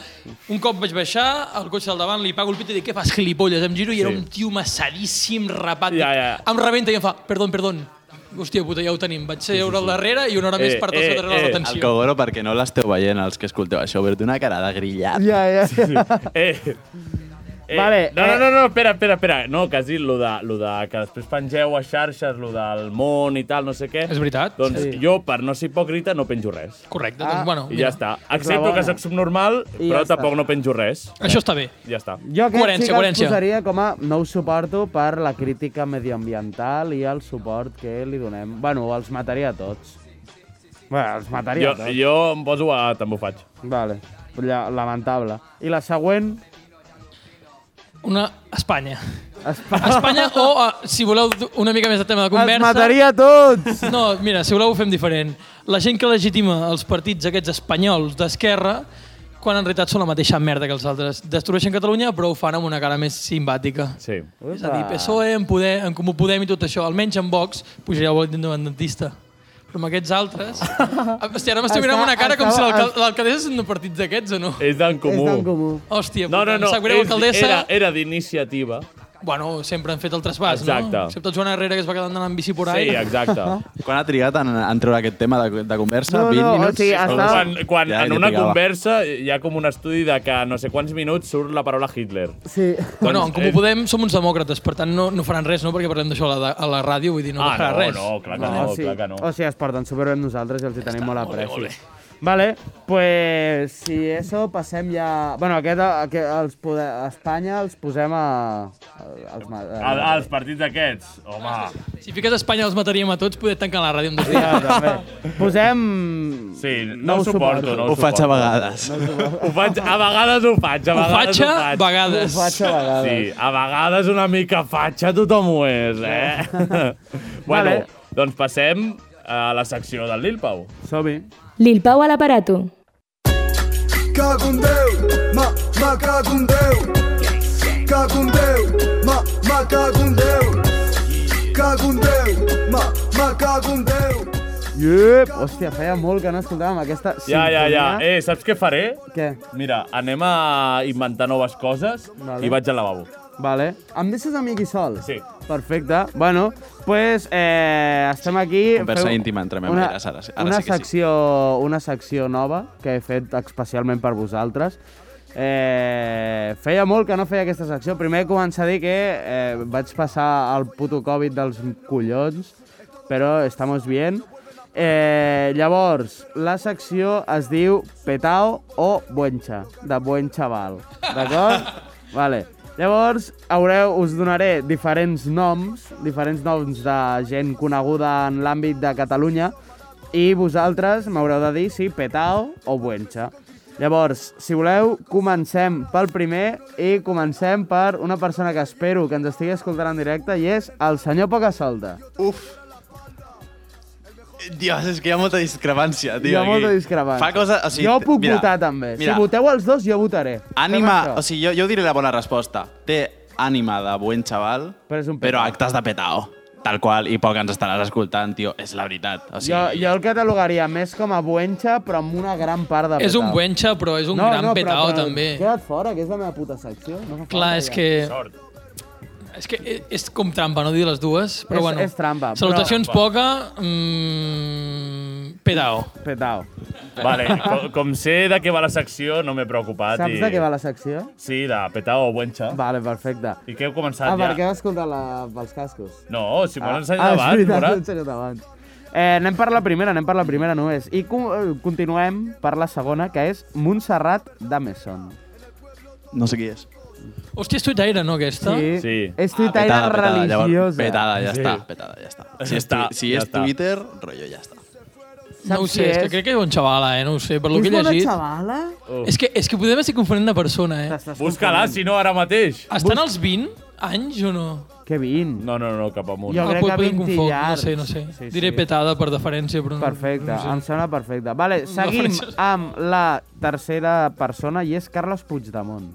Speaker 8: Un cop vaig baixar, el cotxe del davant li pago el pit i dic, què fas, gilipolles? Em giro i era
Speaker 2: Sí.
Speaker 8: un tio massadíssim, rapat.
Speaker 2: Ja,
Speaker 8: Dic,
Speaker 2: ja.
Speaker 8: Em rebenta i em fa, perdó, perdó. Hòstia puta, ja ho tenim. Vaig seure al darrere i una hora més
Speaker 2: Eh,
Speaker 8: per tot
Speaker 2: eh,
Speaker 8: eh,
Speaker 2: eh,
Speaker 8: darrere eh,
Speaker 7: El
Speaker 8: l'atenció.
Speaker 7: Kogoro, perquè no l'esteu veient, els que escolteu això, però té una cara de grillat.
Speaker 6: Ja, ja.
Speaker 2: Eh, eh,
Speaker 6: Vale,
Speaker 2: no, no,
Speaker 6: eh.
Speaker 2: no, no, espera, espera, espera. No, que has dit lo de, lo de que després pengeu a xarxes, lo del món i tal, no sé què.
Speaker 8: És veritat.
Speaker 2: Doncs sí. jo, per no ser hipòcrita, no penjo res.
Speaker 8: Correcte, doncs bueno,
Speaker 2: I ja
Speaker 8: mira,
Speaker 2: està.
Speaker 6: la
Speaker 2: Accepto
Speaker 6: bona.
Speaker 2: que sóc subnormal,
Speaker 6: I
Speaker 2: però
Speaker 6: ja està.
Speaker 2: tampoc no penjo res.
Speaker 8: això està bé.
Speaker 2: Ja està.
Speaker 6: Jo aquest
Speaker 8: Coherència,
Speaker 6: sí que
Speaker 8: coherència.
Speaker 6: els posaria com a no ho suporto per la crítica medioambiental i el suport que li donem. Bueno, els mataria a tots. Bé, els mataria
Speaker 2: Jo,
Speaker 6: a tots.
Speaker 2: jo em poso a... També ho faig.
Speaker 6: Vale. Lla- Lamentable. I la següent...
Speaker 8: Una Espanya.
Speaker 6: Espa...
Speaker 8: Espanya o, eh, si voleu, una mica més de tema de
Speaker 6: Els
Speaker 8: conversa...
Speaker 6: mataria a tots!
Speaker 8: No, mira, si voleu ho fem diferent. La gent que legitima els partits aquests espanyols d'esquerra, quan en realitat són la mateixa merda que els altres. Destrueixen Catalunya, però ho fan amb una cara més simpàtica.
Speaker 2: Sí.
Speaker 8: És a dir, PSOE, E, en, poder, en Comú Podem i tot això, almenys en Vox, pujareu al voltant independentista. Però amb aquests altres... Hòstia, ara m'estic mirant amb una cara com si
Speaker 6: estava-
Speaker 8: l'alcal- l'alcaldessa és un partit d'aquests o no?
Speaker 2: És d'en comú.
Speaker 6: És d'en comú.
Speaker 8: Hòstia,
Speaker 2: Eh, No, no,
Speaker 8: em
Speaker 2: no.
Speaker 8: sap greu,
Speaker 2: és-
Speaker 8: alcaldessa.
Speaker 2: Era, era d'iniciativa.
Speaker 8: Bueno, sempre han fet el trasbàs,
Speaker 2: Exacte.
Speaker 8: no? Excepte el Joan Herrera, que es va quedar anant amb bici por ahí.
Speaker 2: Sí, exacte.
Speaker 7: Quan ha trigat en, en treure aquest tema de, de conversa?
Speaker 6: No, no,
Speaker 7: 20
Speaker 6: o
Speaker 7: minuts?
Speaker 6: sigui,
Speaker 7: Segur.
Speaker 6: estava-
Speaker 2: Quan, quan
Speaker 7: Ja,
Speaker 2: en
Speaker 7: ja
Speaker 2: una
Speaker 7: trigava.
Speaker 2: conversa hi ha com un estudi de que a no sé quants minuts surt la paraula Hitler.
Speaker 6: Sí.
Speaker 8: Bueno, en
Speaker 2: Doncs,
Speaker 8: Comú
Speaker 2: eh,
Speaker 8: Podem som uns demòcrates, per tant no, no faran res, no? Perquè parlem d'això a, la, a la ràdio, vull dir, no
Speaker 2: ah,
Speaker 8: farà
Speaker 2: no,
Speaker 8: res.
Speaker 2: no, clar que no, clar que no.
Speaker 6: O sigui, es porten superbé amb nosaltres i els hi tenim molt a
Speaker 8: molt bé, molt bé.
Speaker 6: Vale, pues si eso passem ja... Bueno, aquest, aquest els poder... a Espanya els posem a... Als, ma- a,
Speaker 2: El, els partits aquests, home.
Speaker 8: Si fiques a Espanya els mataríem a tots, poder tancar la ràdio en dos dies.
Speaker 6: Ja, també. Posem...
Speaker 2: Sí, no, ho suporto. No
Speaker 7: Ho faig a vegades.
Speaker 2: Ho faig, a vegades ho faig, a
Speaker 8: Ho
Speaker 2: vegades
Speaker 8: faig
Speaker 2: ho
Speaker 8: a
Speaker 2: faig.
Speaker 6: Ho
Speaker 8: vegades.
Speaker 6: faig a vegades.
Speaker 2: Sí, a vegades una mica fatxa tothom ho és, eh? bueno,
Speaker 6: Vale.
Speaker 2: doncs passem a la secció del Lil Pau.
Speaker 6: Som-hi.
Speaker 9: Lil Pau a l'aparato.
Speaker 1: Cago en Déu, ma, ma cago en Déu. Cago en Déu, ma, ma cago en Déu. Cago en Déu, ma, ma cago en Déu.
Speaker 6: Yep. Hòstia, feia molt que no escoltàvem aquesta
Speaker 2: Ja, ja, ja.
Speaker 6: sintonia.
Speaker 2: Eh, saps què faré?
Speaker 6: Què?
Speaker 2: Mira, anem a inventar noves coses
Speaker 6: Vale.
Speaker 2: i vaig al lavabo.
Speaker 6: Vale. Em deixes a mi aquí sol?
Speaker 2: Sí.
Speaker 6: Perfecte. Bueno, pues eh, estem aquí...
Speaker 7: Conversa
Speaker 6: Feu
Speaker 7: íntima entre memelles, ara sí- ara
Speaker 6: una
Speaker 7: sí que sí.
Speaker 6: secció, Una secció nova que he fet especialment per vosaltres. Eh, feia molt que no feia aquesta secció. Primer començar a dir que eh, vaig passar el puto Covid dels collons, però estamos bien. Eh, llavors, la secció es diu Petao o Buencha, de Buen Chaval, d'acord? Vale. Llavors, haureu, us donaré diferents noms, diferents noms de gent coneguda en l'àmbit de Catalunya, i vosaltres m'haureu de dir si petao o buencha. Llavors, si voleu, comencem pel primer i comencem per una persona que espero que ens estigui escoltant en directe i és el senyor Pocasolta.
Speaker 7: Dios, és que hi ha molta discrepància, tio.
Speaker 6: Hi ha
Speaker 7: aquí.
Speaker 6: molta discrepància.
Speaker 7: Fa cosa... O sigui,
Speaker 6: jo puc
Speaker 7: mira,
Speaker 6: votar també.
Speaker 7: Mira,
Speaker 6: Si voteu els dos, jo votaré. Fem
Speaker 7: ànima...
Speaker 6: això.
Speaker 7: O sigui, jo, jo diré la bona resposta. Té ànima de buen xaval,
Speaker 6: Però és un
Speaker 7: però
Speaker 6: petao.
Speaker 7: actes de petao. Tal qual, i poc ens estaràs escoltant, tio. És la veritat. O sigui,
Speaker 6: jo, jo el catalogaria més com a buencha, però amb una gran part de petao.
Speaker 8: És un buenxa, però és un gran petao, també.
Speaker 6: Queda't fora, que és la meva puta secció. No fa
Speaker 8: Clar,
Speaker 6: falta,
Speaker 8: és
Speaker 6: ja.
Speaker 8: que... És que és com trampa, no dir les dues, però
Speaker 6: És-
Speaker 8: bueno.
Speaker 6: és trampa, però-
Speaker 8: Salutacions poca, mmm, pedao.
Speaker 6: Petao.
Speaker 2: Vale, com, com sé de què va la secció, no m'he preocupat.
Speaker 6: Saps de què va la secció?
Speaker 2: Sí, de petao o buenxa. Va.
Speaker 6: Vale, perfecte.
Speaker 2: I què heu començat
Speaker 6: Ah,
Speaker 2: ja?
Speaker 6: perquè vas escoltar la, pels cascos.
Speaker 2: No, si m'ho has ensenyat
Speaker 6: ah,
Speaker 2: abans,
Speaker 6: Ah,
Speaker 2: Morat.
Speaker 6: és veritat, t'ho he ensenyat abans. Eh, anem per la primera, anem per la primera només. I co eh, continuem per la segona, que és Montserrat Dameson.
Speaker 7: No sé qui és.
Speaker 8: Hòstia, és tuitaire, no, aquesta?
Speaker 2: Sí.
Speaker 6: És tuitaire
Speaker 7: Llavors,
Speaker 6: religiosa.
Speaker 7: petada, ja
Speaker 2: Sí.
Speaker 7: sí. està, petada, ja està. Si
Speaker 2: Ja
Speaker 7: és, tu,
Speaker 2: està,
Speaker 7: si
Speaker 2: ja
Speaker 7: és
Speaker 2: està.
Speaker 7: Twitter, rotllo, ja està.
Speaker 8: No ho
Speaker 6: Saps
Speaker 8: sé,
Speaker 6: qui
Speaker 8: és que
Speaker 6: és?
Speaker 8: crec que és un xavala, eh? No ho sé, per lo que
Speaker 6: És
Speaker 8: he
Speaker 6: bona
Speaker 8: llegit. Eh?
Speaker 6: xavala?
Speaker 8: És que, és que podem estar confonent de persona, eh?
Speaker 6: T'estàs
Speaker 2: Busca-la, si no, ara mateix.
Speaker 8: Estan als 20 anys o no?
Speaker 6: confonent. Que vint.
Speaker 2: No, no, no, cap amunt.
Speaker 6: Jo-
Speaker 8: Ah,
Speaker 6: crec
Speaker 8: pot-
Speaker 6: que
Speaker 8: podem
Speaker 6: 20
Speaker 8: confondre,
Speaker 6: llargs.
Speaker 8: No sé, no sé.
Speaker 6: Sí,
Speaker 8: Sí, Diré
Speaker 6: sí.
Speaker 8: petada per deferència, però no.
Speaker 6: Perfecte,
Speaker 8: No
Speaker 6: em
Speaker 8: sé.
Speaker 6: sona perfecte. Vale, seguim
Speaker 8: faré-
Speaker 6: amb la tercera persona i és Carles Puigdemont.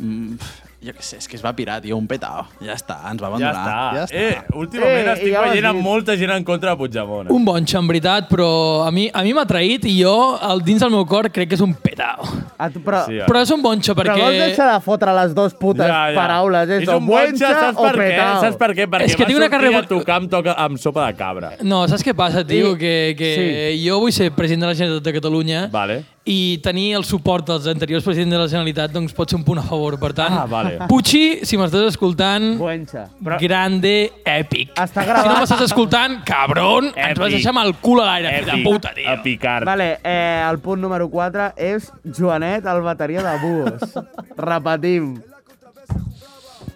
Speaker 7: Mm, pff, jo què sé, és que es va pirar, tio, un petao. Ja està, ens va
Speaker 2: Ja
Speaker 7: abandonar.
Speaker 2: està.
Speaker 7: Ja
Speaker 2: Eh, últimament
Speaker 6: Eh,
Speaker 2: estic
Speaker 6: ja ho has
Speaker 2: veient amb
Speaker 6: dit.
Speaker 2: molta gent en contra de Puigdemont. eh?
Speaker 8: Un bon en veritat, però a mi a mi m'ha traït i jo, al dins del meu cor, crec que és un petao.
Speaker 6: A Ah, tu, però,
Speaker 2: Sí,
Speaker 6: sí,
Speaker 2: ja.
Speaker 8: Però és un bonxa perquè...
Speaker 6: però vols deixar de fotre les dues putes paraules? eh? És,
Speaker 2: un
Speaker 6: buencha
Speaker 2: botxa, saps
Speaker 6: o
Speaker 2: per què?
Speaker 6: petao?
Speaker 2: Saps per què? Perquè
Speaker 8: És que
Speaker 2: va
Speaker 8: tinc una
Speaker 2: sortir
Speaker 8: carrera-
Speaker 2: a tocar amb, toca, amb sopa de cabra.
Speaker 8: No, saps què passa, tio? Que, que
Speaker 6: sí.
Speaker 8: jo vull ser president de la Generalitat de Catalunya
Speaker 2: Vale.
Speaker 8: i tenir el suport dels anteriors presidents de la Generalitat doncs pot ser un punt a favor. Per tant,
Speaker 2: Ah, vale.
Speaker 8: Puigci, si m'estàs escoltant,
Speaker 6: Buenxa.
Speaker 2: Però-
Speaker 8: grande, èpic.
Speaker 6: Està
Speaker 8: Si no
Speaker 6: gravat.
Speaker 8: m'estàs escoltant, cabron, èpic. ens vas
Speaker 2: Èpic.
Speaker 8: deixar amb el cul a l'aire, fill de
Speaker 2: Èpic,
Speaker 8: puta, tio.
Speaker 2: a picar.
Speaker 6: Vale, eh, el punt número 4 és Joanet, el bateria de Buos. Repetim.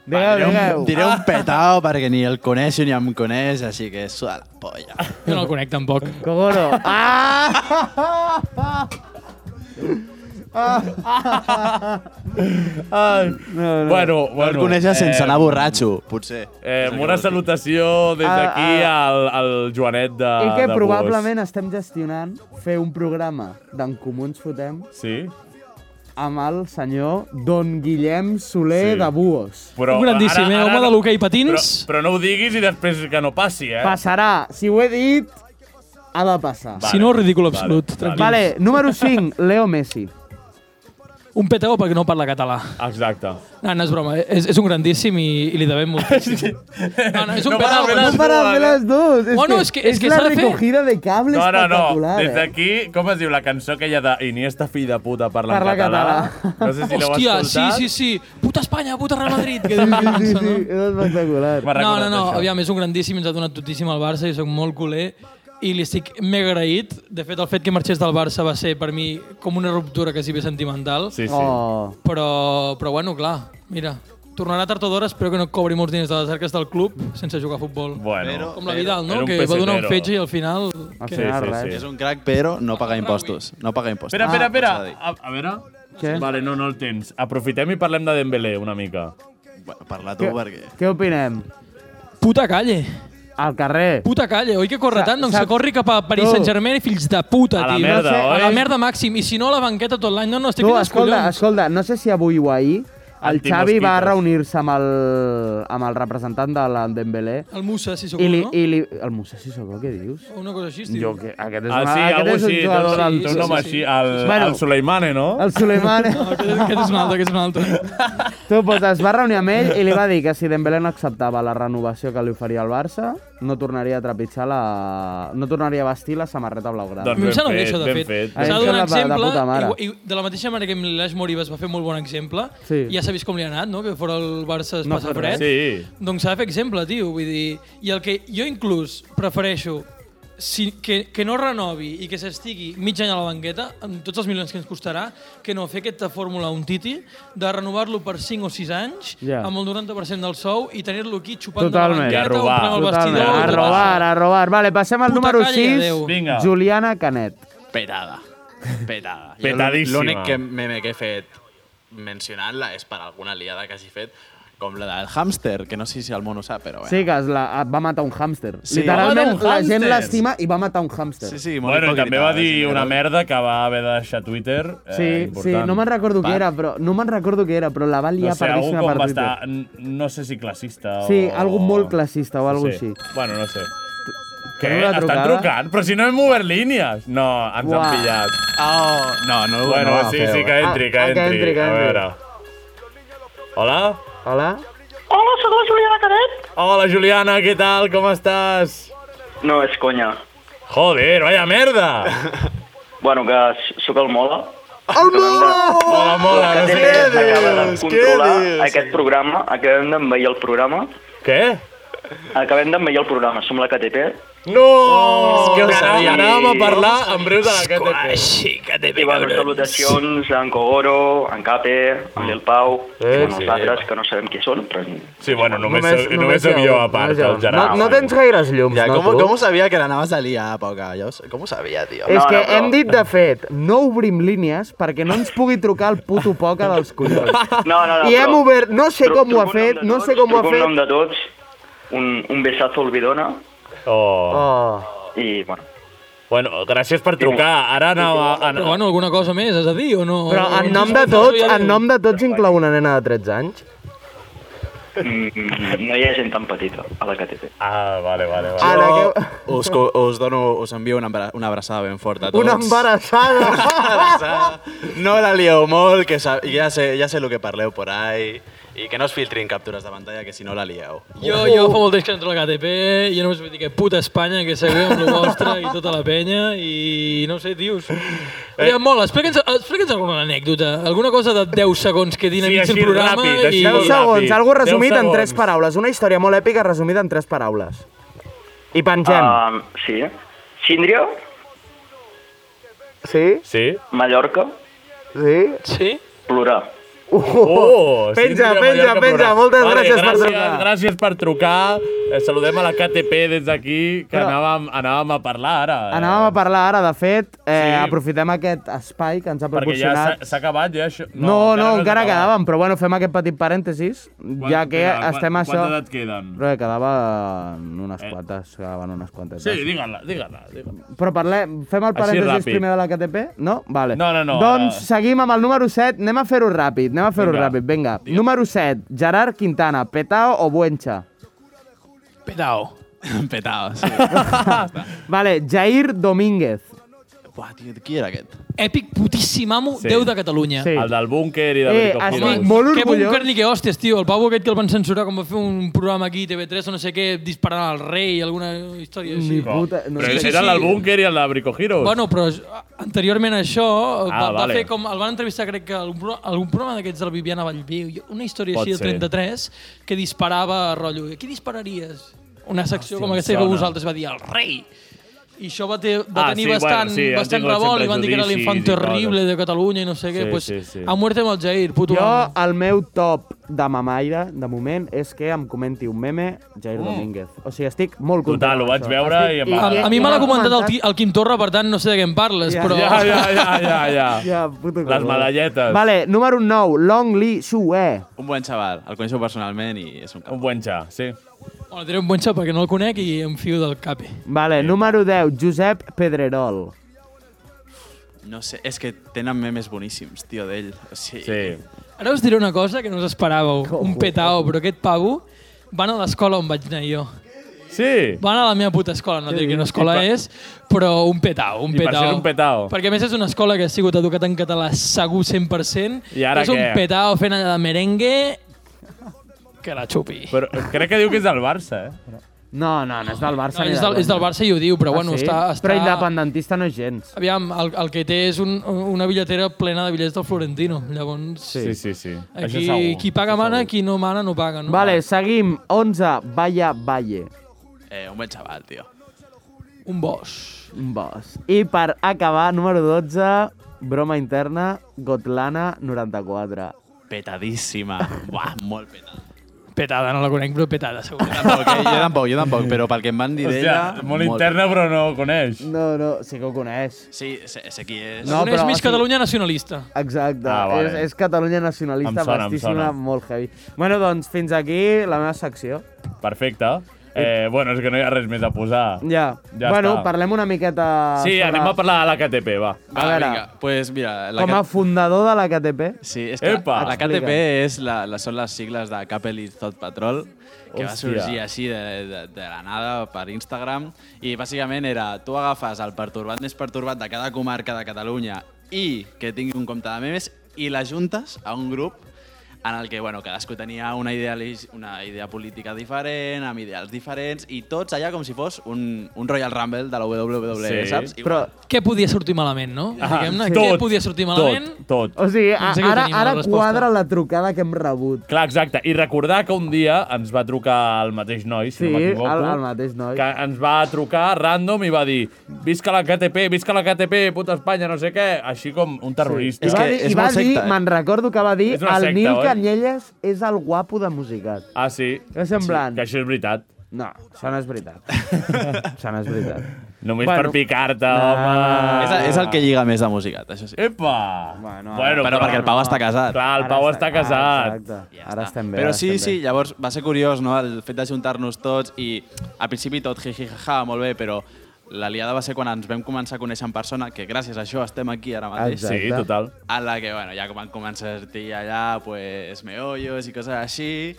Speaker 6: Digueu,
Speaker 7: Diré un,
Speaker 6: digueu.
Speaker 7: diré un petao perquè ni el coneixo ni em coneix, així que suda la polla.
Speaker 8: Jo no el conec tampoc.
Speaker 6: Kogoro. Ah!
Speaker 2: Ai. No, eh, no. Bueno,
Speaker 7: No el
Speaker 2: bueno.
Speaker 7: coneixes sense anar borratxo, potser.
Speaker 2: Eh, una salutació des
Speaker 6: Ah,
Speaker 2: d'aquí al, al Joanet de
Speaker 6: I que
Speaker 2: Ah, de Bus.
Speaker 6: probablement estem gestionant fer un programa d'en Comú ens fotem
Speaker 2: Sí?
Speaker 6: amb el senyor Don Guillem Soler
Speaker 2: Sí.
Speaker 6: de Buos.
Speaker 2: Però
Speaker 8: Un grandíssim, eh, home de l'hoquei
Speaker 2: Però,
Speaker 8: patins.
Speaker 2: però no ho diguis i després que no passi, eh?
Speaker 6: Passarà. Si ho he dit, ha de passar.
Speaker 2: Va.
Speaker 6: Va.
Speaker 8: Si no, ridícul
Speaker 2: Vale,
Speaker 8: absolut.
Speaker 2: vale.
Speaker 8: tranquils.
Speaker 6: Vale, número 5, Leo Messi.
Speaker 8: Un petó perquè no parla català. Ah,
Speaker 2: Exacte.
Speaker 8: No, no és broma, eh? és, és un grandíssim i, i li devem moltíssim. No, no, és un
Speaker 2: No para de
Speaker 8: petó. però-
Speaker 2: veure-
Speaker 6: No para de les dues. És
Speaker 8: Bueno,
Speaker 6: que,
Speaker 8: és que- és que
Speaker 6: la
Speaker 8: s'ha de fer.
Speaker 6: recogida de cables
Speaker 2: No, no, no.
Speaker 6: espectacular.
Speaker 2: Des
Speaker 6: eh?
Speaker 2: d'aquí, com es diu la cançó aquella de Iniesta, fill de puta, parla,
Speaker 6: Parla
Speaker 2: en català?
Speaker 6: català.
Speaker 2: No sé si l'heu
Speaker 8: Hòstia,
Speaker 2: escoltat.
Speaker 8: sí, sí, sí. Puta Espanya, puta Real Madrid. Que diu,
Speaker 6: Sí, sí,
Speaker 8: sí,
Speaker 6: sí, és espectacular.
Speaker 2: M'ha
Speaker 8: No, no,
Speaker 2: recordat
Speaker 8: no,
Speaker 2: això.
Speaker 8: aviam, és un grandíssim, ens ha donat totíssim al Barça, jo soc molt culer i li estic mega agraït. De fet, el fet que marxés del Barça va ser per mi com una ruptura quasi bé sentimental.
Speaker 2: Sí, sí.
Speaker 6: Oh.
Speaker 8: Però, però bueno, clar, mira, tornarà tard o d'hora, espero que no cobri molts diners de les arques del club sense jugar a futbol.
Speaker 2: Bueno.
Speaker 8: Com la Vidal,
Speaker 2: Era
Speaker 8: no?
Speaker 2: un
Speaker 8: Que va donar
Speaker 2: pesetero.
Speaker 8: un fetge i al final...
Speaker 6: Al
Speaker 8: Que...
Speaker 6: final,
Speaker 2: sí,
Speaker 6: res.
Speaker 2: sí.
Speaker 7: És un Ah, crac, però no paga impostos. No paga impostos.
Speaker 2: Espera, espera, espera.
Speaker 7: s'ha de dir.
Speaker 2: A, a veure...
Speaker 6: Què?
Speaker 2: Vale, no, no el tens. Aprofitem i parlem de Dembélé una mica.
Speaker 7: Ah, Bueno, parla tu,
Speaker 6: Què,
Speaker 7: perquè...
Speaker 6: què opinem?
Speaker 8: Puta calle,
Speaker 6: Al carrer.
Speaker 8: puta calle. Oi que corre
Speaker 6: Sa-
Speaker 8: tant? Doncs
Speaker 6: sa-
Speaker 8: que corri cap a París
Speaker 6: Tu.
Speaker 8: Saint-Germain, fills de puta,
Speaker 2: A la
Speaker 8: tio.
Speaker 2: merda, eh?
Speaker 8: No sé,
Speaker 2: oi?
Speaker 8: A la merda màxim. I si no, a la banqueta tot l'any. No, no, estic
Speaker 6: Tu,
Speaker 8: fins als
Speaker 6: escolta,
Speaker 8: collons.
Speaker 6: escolta, no sé si avui o ahir el
Speaker 2: Antimosquitos.
Speaker 6: Xavi va reunir-se amb, el, amb el representant de la Dembélé
Speaker 8: El Musa, si sóc
Speaker 6: i li,
Speaker 8: no?
Speaker 6: i li... El Musa Sissoko, què dius?
Speaker 8: Una cosa així, tio.
Speaker 6: Jo, que aquest és,
Speaker 2: Ah, sí,
Speaker 6: aquest
Speaker 2: algú
Speaker 6: és un
Speaker 2: així. Té
Speaker 6: jugador
Speaker 2: un,
Speaker 6: del
Speaker 2: té un
Speaker 8: sí,
Speaker 2: nom
Speaker 8: sí,
Speaker 2: així.
Speaker 8: sí.
Speaker 2: El,
Speaker 6: Bueno.
Speaker 2: el Soleimane, no?
Speaker 6: El Suleiman.
Speaker 8: Aquest, aquest és un altre, aquest és un altre.
Speaker 6: tu, doncs, es va reunir amb ell i li va dir que si Dembélé no acceptava la renovació que li oferia el Barça, no tornaria a trepitjar la... no tornaria a vestir la samarreta blaugrana.
Speaker 8: A mi em sembla
Speaker 2: Doncs Ben
Speaker 8: bé això, Mm. de
Speaker 2: ben
Speaker 8: fet.
Speaker 2: fet.
Speaker 8: S'ha
Speaker 6: A mi em
Speaker 8: de donar
Speaker 6: sembla de- de
Speaker 8: exemple,
Speaker 6: puta mare.
Speaker 8: i, i de la mateixa manera que amb l'Ilaix Moriba es va fer molt bon exemple,
Speaker 6: Sí.
Speaker 8: i ja s'ha vist com li ha anat, no? que fora el Barça es
Speaker 6: No
Speaker 8: passa
Speaker 6: fa res.
Speaker 8: fred,
Speaker 2: Sí.
Speaker 8: doncs s'ha de fer exemple, tio. Vull dir, I el que jo inclús prefereixo si, que, que no renovi i que s'estigui mig any a la banqueta, amb tots els milions que ens costarà, que no fer aquesta fórmula un titi, de renovar-lo per 5 o 6 anys,
Speaker 6: Ja.
Speaker 8: amb el 90% del sou, i tenir-lo aquí xupant
Speaker 2: I
Speaker 6: Totalment.
Speaker 8: de la
Speaker 2: a
Speaker 8: banqueta,
Speaker 2: robar.
Speaker 8: omplint el
Speaker 6: Totalment.
Speaker 8: vestidor...
Speaker 6: A
Speaker 8: i tot això.
Speaker 6: robar, a robar. Vale, passem al
Speaker 8: Puta
Speaker 6: número
Speaker 8: calla,
Speaker 6: 6,
Speaker 8: adéu.
Speaker 2: Vinga.
Speaker 6: Juliana Canet.
Speaker 7: Petada. Petada. Jo
Speaker 2: Petadíssima.
Speaker 7: L'únic que meme que he fet mencionant-la és per alguna liada que hagi fet, com la del hàmster, que no sé si el món ho sap, però...
Speaker 6: Sí, que es la, va matar un hàmster.
Speaker 7: Sí.
Speaker 6: Literalment,
Speaker 2: Va matar un
Speaker 6: la
Speaker 2: hàmster.
Speaker 6: gent l'estima i va matar un hàmster.
Speaker 7: sí, sí molt
Speaker 2: Bueno, i
Speaker 7: hipòcrita,
Speaker 2: també va
Speaker 7: eh,
Speaker 2: dir
Speaker 7: senyora.
Speaker 2: una merda que va haver de deixar Twitter. Eh,
Speaker 6: Sí, sí,
Speaker 2: important.
Speaker 6: no me'n recordo
Speaker 7: Va.
Speaker 6: què era, però no me'n recordo què era, però la va liar
Speaker 2: no sé, algú
Speaker 6: perdíssima
Speaker 2: com
Speaker 6: per
Speaker 2: va
Speaker 6: Twitter.
Speaker 2: estar, n- no sé si classista o...
Speaker 6: Sí, algo molt classista o algo
Speaker 2: sí.
Speaker 6: així.
Speaker 2: Bueno, no sé. Què?
Speaker 6: Tenim una
Speaker 2: Estan
Speaker 6: trucada?
Speaker 2: trucant? Però si no hem obert línies. No, ens
Speaker 6: Uah.
Speaker 2: han pillat.
Speaker 7: Oh, no, no,
Speaker 2: Bueno,
Speaker 7: no,
Speaker 2: sí, sí, que entri, que
Speaker 6: eh? Ah, ah, que
Speaker 2: entri.
Speaker 6: entri, que
Speaker 2: A
Speaker 6: entri.
Speaker 2: veure. Hola?
Speaker 6: Hola?
Speaker 10: Hola, sóc la Juliana Canet.
Speaker 2: Hola, Juliana, què tal? Com estàs?
Speaker 10: No, és conya.
Speaker 2: Joder, vaya merda!
Speaker 10: Bueno, que s- sóc el Mola.
Speaker 2: El Mola! Hola, Mola, no sé què
Speaker 10: Acaba de
Speaker 2: dius, què
Speaker 10: controlar
Speaker 2: dius?
Speaker 10: aquest programa. Acabem d'envair el programa.
Speaker 2: Què?
Speaker 10: Acabem d'envair el programa. Som la KTP.
Speaker 2: No! Oh, que ho
Speaker 10: sabia.
Speaker 2: sabia. Anàvem a parlar en breu de la KTP.
Speaker 10: Sí, KTP, I bueno, salutacions a en Cogoro, a en Cape, a el Pau, eh, a nosaltres, que no sabem qui són, però...
Speaker 2: Sí, bueno,
Speaker 10: només
Speaker 2: sóc- només sóc jo a part, el Gerard.
Speaker 11: No, no tens gaires llums,
Speaker 2: Ja,
Speaker 11: no,
Speaker 2: com-
Speaker 11: tu?
Speaker 2: com ho
Speaker 11: sabia que l'anaves a liar, Poca? Jo, com ho sabia, tio?
Speaker 6: És que hem dit, de fet, no obrim línies perquè no ens pugui trucar el puto poca dels collons.
Speaker 10: No, no, no,
Speaker 6: I hem
Speaker 10: però-
Speaker 6: obert... No sé com ho ha fet, no sé com ho ha
Speaker 10: Truco en nom
Speaker 6: fet.
Speaker 10: de tots, un, un besazo al Bidona.
Speaker 2: Oh.
Speaker 10: I, bueno...
Speaker 2: Bueno, gràcies per trucar. Ara anava...
Speaker 8: Però, bueno, alguna cosa més, és a dir, o no?
Speaker 11: Però
Speaker 8: O-
Speaker 11: en
Speaker 8: no
Speaker 11: nom
Speaker 8: sé,
Speaker 11: de
Speaker 8: Oh, no
Speaker 11: tots,
Speaker 8: sabia
Speaker 11: en
Speaker 8: dir-ho.
Speaker 11: nom de tots inclou una nena de 13 anys?
Speaker 10: Mm, no hi ha gent tan petita a la KTP.
Speaker 2: Ah, vale, vale.
Speaker 11: vale. Ara,
Speaker 7: Jo us, co- us, dono, us envio una, abra- una abraçada ben forta a tots.
Speaker 11: Una embarassada!
Speaker 7: No la lieu molt, que sa- ja sé, ja sé el que parleu por ahí. I que no us filtrin captures de pantalla, que si no la lieu.
Speaker 8: Jo, jo fa molt temps que entro a la KTP, jo només vull dir que puta Espanya, que segueu amb lo vostre i tota la penya, i no sé, tios. Eh. Ja, molt, explica'ns explica alguna anècdota, alguna cosa de 10 segons que dinamitzi el programa. i...
Speaker 11: 10 segons, algo resumit en 3 paraules. Una història molt èpica resumida en 3 paraules. I pengem.
Speaker 10: Uh, sí. Síndria,
Speaker 11: Sí?
Speaker 2: Sí?
Speaker 10: Mallorca,
Speaker 11: Sí?
Speaker 8: Sí?
Speaker 10: plorar.
Speaker 2: Oh,
Speaker 11: Penja,
Speaker 2: Síndria
Speaker 11: penja,
Speaker 2: Mallorca
Speaker 11: penja. Moltes
Speaker 2: Plural.
Speaker 11: gràcies per trucar.
Speaker 2: Gràcies per trucar. Eh, Saludem a la KTP des d'aquí, que anàvem, anàvem a parlar ara. eh,
Speaker 6: Anàvem a parlar ara, de fet, eh, aprofitem aquest espai que ens ha
Speaker 2: Perquè ja s'ha
Speaker 6: proporcionat.
Speaker 2: s'ha acabat, ja, això.
Speaker 6: No, no, no,
Speaker 2: s'ha
Speaker 6: encara
Speaker 2: acabat.
Speaker 6: quedàvem, però bueno, fem aquest petit parèntesis, ja que
Speaker 2: espera, quan-
Speaker 6: estem a això...
Speaker 2: quanta edat queden? Eh.
Speaker 6: Però quedaven unes quantes, quedaven unes quantes. eh.
Speaker 2: Sí, digue-la, digue-la. Digue
Speaker 6: Però parlem, fem el
Speaker 2: Així
Speaker 6: parèntesis
Speaker 2: ràpid.
Speaker 6: primer de la KTP? No? Vale.
Speaker 2: No, no, no,
Speaker 6: Doncs
Speaker 2: ara-
Speaker 6: seguim amb el número 7, anem a fer-ho ràpid, anem a fer-ho
Speaker 2: Vinga.
Speaker 6: ràpid, vinga. Número 7, Gerard Quintana, Petao o Buencha?
Speaker 7: Petao. Petao, sí.
Speaker 6: Vale, Jair Domínguez.
Speaker 7: Uah, tio, qui era aquest?
Speaker 8: Èpic putíssim amo, sí. 10 de Catalunya.
Speaker 6: Sí. El
Speaker 2: del búnquer i
Speaker 6: de Eh, Brick of estic Heroes. molt
Speaker 8: Que
Speaker 6: orgullós.
Speaker 8: búnquer ni que hòsties, tio. El pavo aquest que el van censurar quan va fer un programa aquí, TV3 o no sé què, disparant al rei, alguna història així.
Speaker 2: no, però eren el búnquer i el de Brico Heroes.
Speaker 8: Bueno, però és- anteriorment a això ah, va,
Speaker 2: Ah,
Speaker 8: va
Speaker 2: vale.
Speaker 8: fer com... El van entrevistar, crec que algun, pro- algun programa d'aquests de la Viviana Vallviu, i una història
Speaker 2: Pot
Speaker 8: així
Speaker 2: ser.
Speaker 8: del 33 que disparava rotllo. Qui dispararies? Una secció
Speaker 2: Hòstia,
Speaker 8: com
Speaker 2: em
Speaker 8: aquesta que
Speaker 2: sona.
Speaker 8: vosaltres va dir el rei. I això va, ter,
Speaker 2: Ah,
Speaker 8: va tenir
Speaker 2: sí, bueno,
Speaker 8: bastant,
Speaker 2: sí, han
Speaker 8: bastant
Speaker 2: tingut
Speaker 8: revolt i
Speaker 2: sempre
Speaker 8: van dir que era
Speaker 2: judicis
Speaker 8: l'infant
Speaker 2: i coses.
Speaker 8: terrible de Catalunya i no sé què.
Speaker 2: Sí,
Speaker 8: pues,
Speaker 2: sí, sí.
Speaker 8: A muerte amb el Jair, puto.
Speaker 6: Jo,
Speaker 8: amo.
Speaker 6: el meu top de mamaire, de moment, és que em comenti un meme Jair
Speaker 8: Mm.
Speaker 6: Domínguez. O sigui, estic molt content.
Speaker 2: Total, ho
Speaker 6: amb
Speaker 2: vaig
Speaker 6: això.
Speaker 2: veure i em va-
Speaker 8: A, a mi me l'ha comentat
Speaker 6: tio.
Speaker 8: el, Qui- el Quim Torra, per tant no sé de què em parles, però...
Speaker 2: Ja, ja, ja, ja, ja. Les medalletes.
Speaker 6: Vale, número 9, Long Li Sue.
Speaker 7: Un bon xaval, el coneixo personalment i és un cap.
Speaker 2: Un bon xa, sí.
Speaker 8: Bueno, diré un bon xap perquè no el conec i em fio del cape.
Speaker 6: Vale, número 10, Josep Pedrerol.
Speaker 7: No sé, és que tenen memes boníssims, tio, d'ell. O sigui, sí.
Speaker 8: Ara us diré una cosa que no us esperàveu, un petao, però aquest pavo van a l'escola on vaig anar jo.
Speaker 2: Sí?
Speaker 8: Van a la meva puta escola, no diré quina escola
Speaker 2: I per-
Speaker 8: és, però un petao, un
Speaker 2: I per
Speaker 8: petao.
Speaker 2: ser un petao.
Speaker 8: Perquè a més és una escola que ha sigut educat en català segur 100%.
Speaker 2: I ara
Speaker 8: és un
Speaker 2: què?
Speaker 8: petao fent allà de merengue que la xupi.
Speaker 2: Però crec que diu que és del Barça, eh?
Speaker 6: No, no, no és del Barça.
Speaker 8: No,
Speaker 6: ni
Speaker 8: és del- és del Barça i ho
Speaker 2: Ah,
Speaker 8: diu, però bueno, està- està-
Speaker 6: Però independentista no és gens.
Speaker 8: Aviam, el, el que té és un, una billetera plena de bitllets del Florentino. Llavors,
Speaker 2: Sí, sí, sí. Això
Speaker 8: Aquí,
Speaker 2: segur.
Speaker 8: qui paga mana, qui no mana no paga. No?
Speaker 6: Vale, seguim. 11, Valla Valle.
Speaker 7: Eh, un bon xaval, tio.
Speaker 8: Un boss.
Speaker 6: Un boss. I per acabar, número 12, broma interna, Gotlana 94.
Speaker 7: Petadíssima. Buah, molt petada.
Speaker 8: Petada, no la conec, però petada, segur.
Speaker 7: Tampoc, eh? jo tampoc, jo tampoc, però pel que em van dir d'ella...
Speaker 2: molt interna, però no ho coneix.
Speaker 6: No, no, sí que ho coneix.
Speaker 7: Sí, sé, sé qui és.
Speaker 8: No, Coneix Miss Catalunya nacionalista.
Speaker 6: Exacte,
Speaker 8: Ah, vale.
Speaker 6: és, és Catalunya nacionalista,
Speaker 2: Em sona, em
Speaker 6: vastíssima,
Speaker 2: sona.
Speaker 6: molt heavy. Bueno, doncs fins aquí la meva secció.
Speaker 2: Perfecte. Eh, bueno, és que no hi ha res més a posar.
Speaker 6: Ja.
Speaker 2: Ja
Speaker 6: bueno,
Speaker 2: està.
Speaker 6: parlem una miqueta...
Speaker 2: Sí,
Speaker 6: sobre-
Speaker 2: anem a parlar de la KTP, va.
Speaker 6: A veure. vinga,
Speaker 7: pues mira...
Speaker 6: Com a fundador de la KTP.
Speaker 7: Sí, és que
Speaker 6: Epa!
Speaker 7: la
Speaker 6: Explica.
Speaker 7: KTP és la, la, són les sigles de Capel i Thought Patrol, que va
Speaker 2: Hòstia.
Speaker 7: sorgir així de, de, de la nada per Instagram, i bàsicament era, tu agafes el pertorbat més pertorbat de cada comarca de Catalunya i que tingui un compte de memes i l'ajuntes a un grup en el que bueno, cadascú tenia una idea, una idea política diferent, amb ideals diferents, i tots allà com si fos un, un Royal Rumble de la WWE, sí. saps? I,
Speaker 8: Però... Què podia sortir malament, no?
Speaker 7: Ah,
Speaker 8: Diguem-ne,
Speaker 7: sí.
Speaker 8: què
Speaker 7: tot,
Speaker 8: podia sortir malament?
Speaker 2: Tot,
Speaker 6: O sigui, a,
Speaker 8: Doncs aquí
Speaker 6: ara,
Speaker 8: tenim la
Speaker 6: ara
Speaker 8: resposta.
Speaker 6: quadra la trucada que hem rebut.
Speaker 2: Clar, exacte. I recordar que un dia ens va trucar el mateix noi, si
Speaker 6: Sí,
Speaker 2: no m'equivoco.
Speaker 6: el- el mateix noi.
Speaker 2: Que ens va trucar random i va dir visca la KTP, visca la KTP, puta Espanya, no sé què. Així com un terrorista.
Speaker 6: I va dir, i va dir me'n recordo que va dir,
Speaker 2: eh? És una
Speaker 6: el
Speaker 2: secta,
Speaker 6: Nil
Speaker 2: oi?"
Speaker 6: Canyelles és el guapo de Musicat.
Speaker 2: Ah, sí?
Speaker 6: És semblant.
Speaker 2: Sí, que això és veritat.
Speaker 6: No, això no és veritat. això no és veritat.
Speaker 2: Només per
Speaker 6: Bueno.
Speaker 2: picar-te,
Speaker 6: No.
Speaker 2: home.
Speaker 7: és, és el que lliga més de musicat, això sí.
Speaker 2: Epa!
Speaker 6: Bueno,
Speaker 7: però perquè Ah, el Pau està casat.
Speaker 2: Eh, Clar, el Pau està casat.
Speaker 6: Ah, Exacte. Ara estem bé.
Speaker 7: Però
Speaker 6: ara
Speaker 7: sí,
Speaker 6: estem
Speaker 7: sí, llavors va ser curiós, no?, el fet de juntar-nos tots i al principi tot jiji, jaja, molt bé, però la liada va ser quan ens vam començar a conèixer en persona, que gràcies a això estem aquí ara mateix.
Speaker 2: Exacte. Sí, total.
Speaker 7: A la que, bueno, ja van començar a sortir allà, pues, meollos i coses així,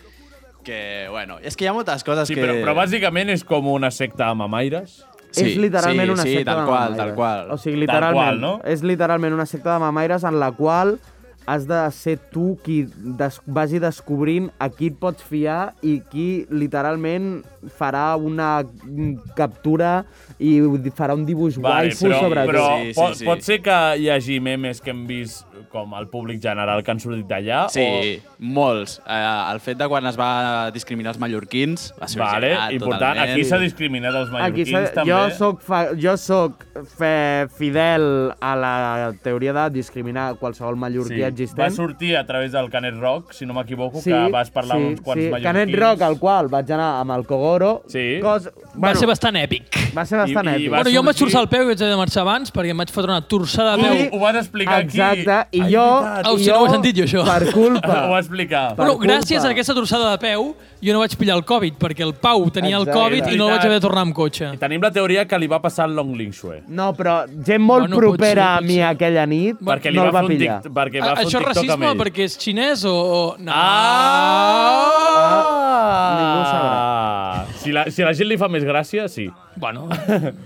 Speaker 7: que, bueno, és que hi ha moltes coses
Speaker 2: Sí,
Speaker 7: que...
Speaker 2: però, però bàsicament és com una secta amb amaires.
Speaker 6: bé. és literalment
Speaker 7: sí,
Speaker 6: una
Speaker 7: sí,
Speaker 6: secta
Speaker 7: tal
Speaker 6: de
Speaker 7: qual,
Speaker 6: mamaires.
Speaker 7: tal qual.
Speaker 6: O sigui,
Speaker 2: Tal
Speaker 6: literalment,
Speaker 2: qual, no?
Speaker 6: és literalment una secta de mamaires en la qual has de ser tu qui des vagi descobrint a qui et pots fiar i qui literalment farà una mm, captura i farà un dibuix guai
Speaker 2: però,
Speaker 6: sobre
Speaker 2: però
Speaker 6: tu.
Speaker 2: pot, pot ser que hi hagi memes que hem vist com al públic general que han sortit d'allà?
Speaker 7: Sí, o... molts. Eh, el fet de quan es va discriminar els mallorquins va
Speaker 2: O...
Speaker 7: ser
Speaker 2: Vale,
Speaker 7: genial,
Speaker 2: important.
Speaker 7: totalment.
Speaker 2: Aquí s'ha discriminat els
Speaker 6: Aquí
Speaker 2: mallorquins,
Speaker 6: s'ha-
Speaker 2: també.
Speaker 6: jo sóc, fa, jo sóc fe, fidel a la teoria de discriminar qualsevol mallorquí
Speaker 2: Va
Speaker 6: existent.
Speaker 2: sortir a través del Canet Rock, si no m'equivoco, que vas parlar amb uns quants
Speaker 6: sí.
Speaker 2: mallorquins.
Speaker 6: Canet Rock, al qual vaig anar amb el Kogoro.
Speaker 2: Sí.
Speaker 6: Cos,
Speaker 8: Va ser bastant èpic.
Speaker 6: Va ser bastant èpic.
Speaker 8: bueno, jo em vaig torçar el peu i vaig haver de marxar abans perquè em vaig fotre una torçada de peu.
Speaker 6: I- Exacte, i
Speaker 8: Ai,
Speaker 6: jo...
Speaker 8: veritat. Au,
Speaker 6: i
Speaker 8: si no
Speaker 6: jo,
Speaker 8: ho he sentit jo, això.
Speaker 6: Per culpa.
Speaker 2: Ho va explicar.
Speaker 8: Bueno, gràcies a aquesta torçada de peu, jo no vaig pillar el Covid, perquè el Pau tenia el
Speaker 2: Exacte.
Speaker 8: Covid i no el vaig haver de tornar amb cotxe.
Speaker 2: I tenim la teoria que li va passar el Long Ling Shue.
Speaker 6: No, però gent molt
Speaker 8: Bueno,
Speaker 6: bueno,
Speaker 8: pot
Speaker 6: propera
Speaker 8: ser,
Speaker 6: a mi aquella nit
Speaker 2: Perquè li
Speaker 6: no
Speaker 2: va
Speaker 6: el va
Speaker 2: fer un
Speaker 6: pillar.
Speaker 2: dict- perquè va
Speaker 8: Ah,
Speaker 2: fer un
Speaker 8: Això
Speaker 2: TikTok
Speaker 8: és
Speaker 2: amb
Speaker 8: racisme
Speaker 2: ell.
Speaker 8: perquè és xinès o... o-
Speaker 2: Ah!
Speaker 8: No. Ah!
Speaker 6: Ningú sabrà.
Speaker 2: Ah, si la, si a la gent li fa més gràcia, sí.
Speaker 8: Bueno.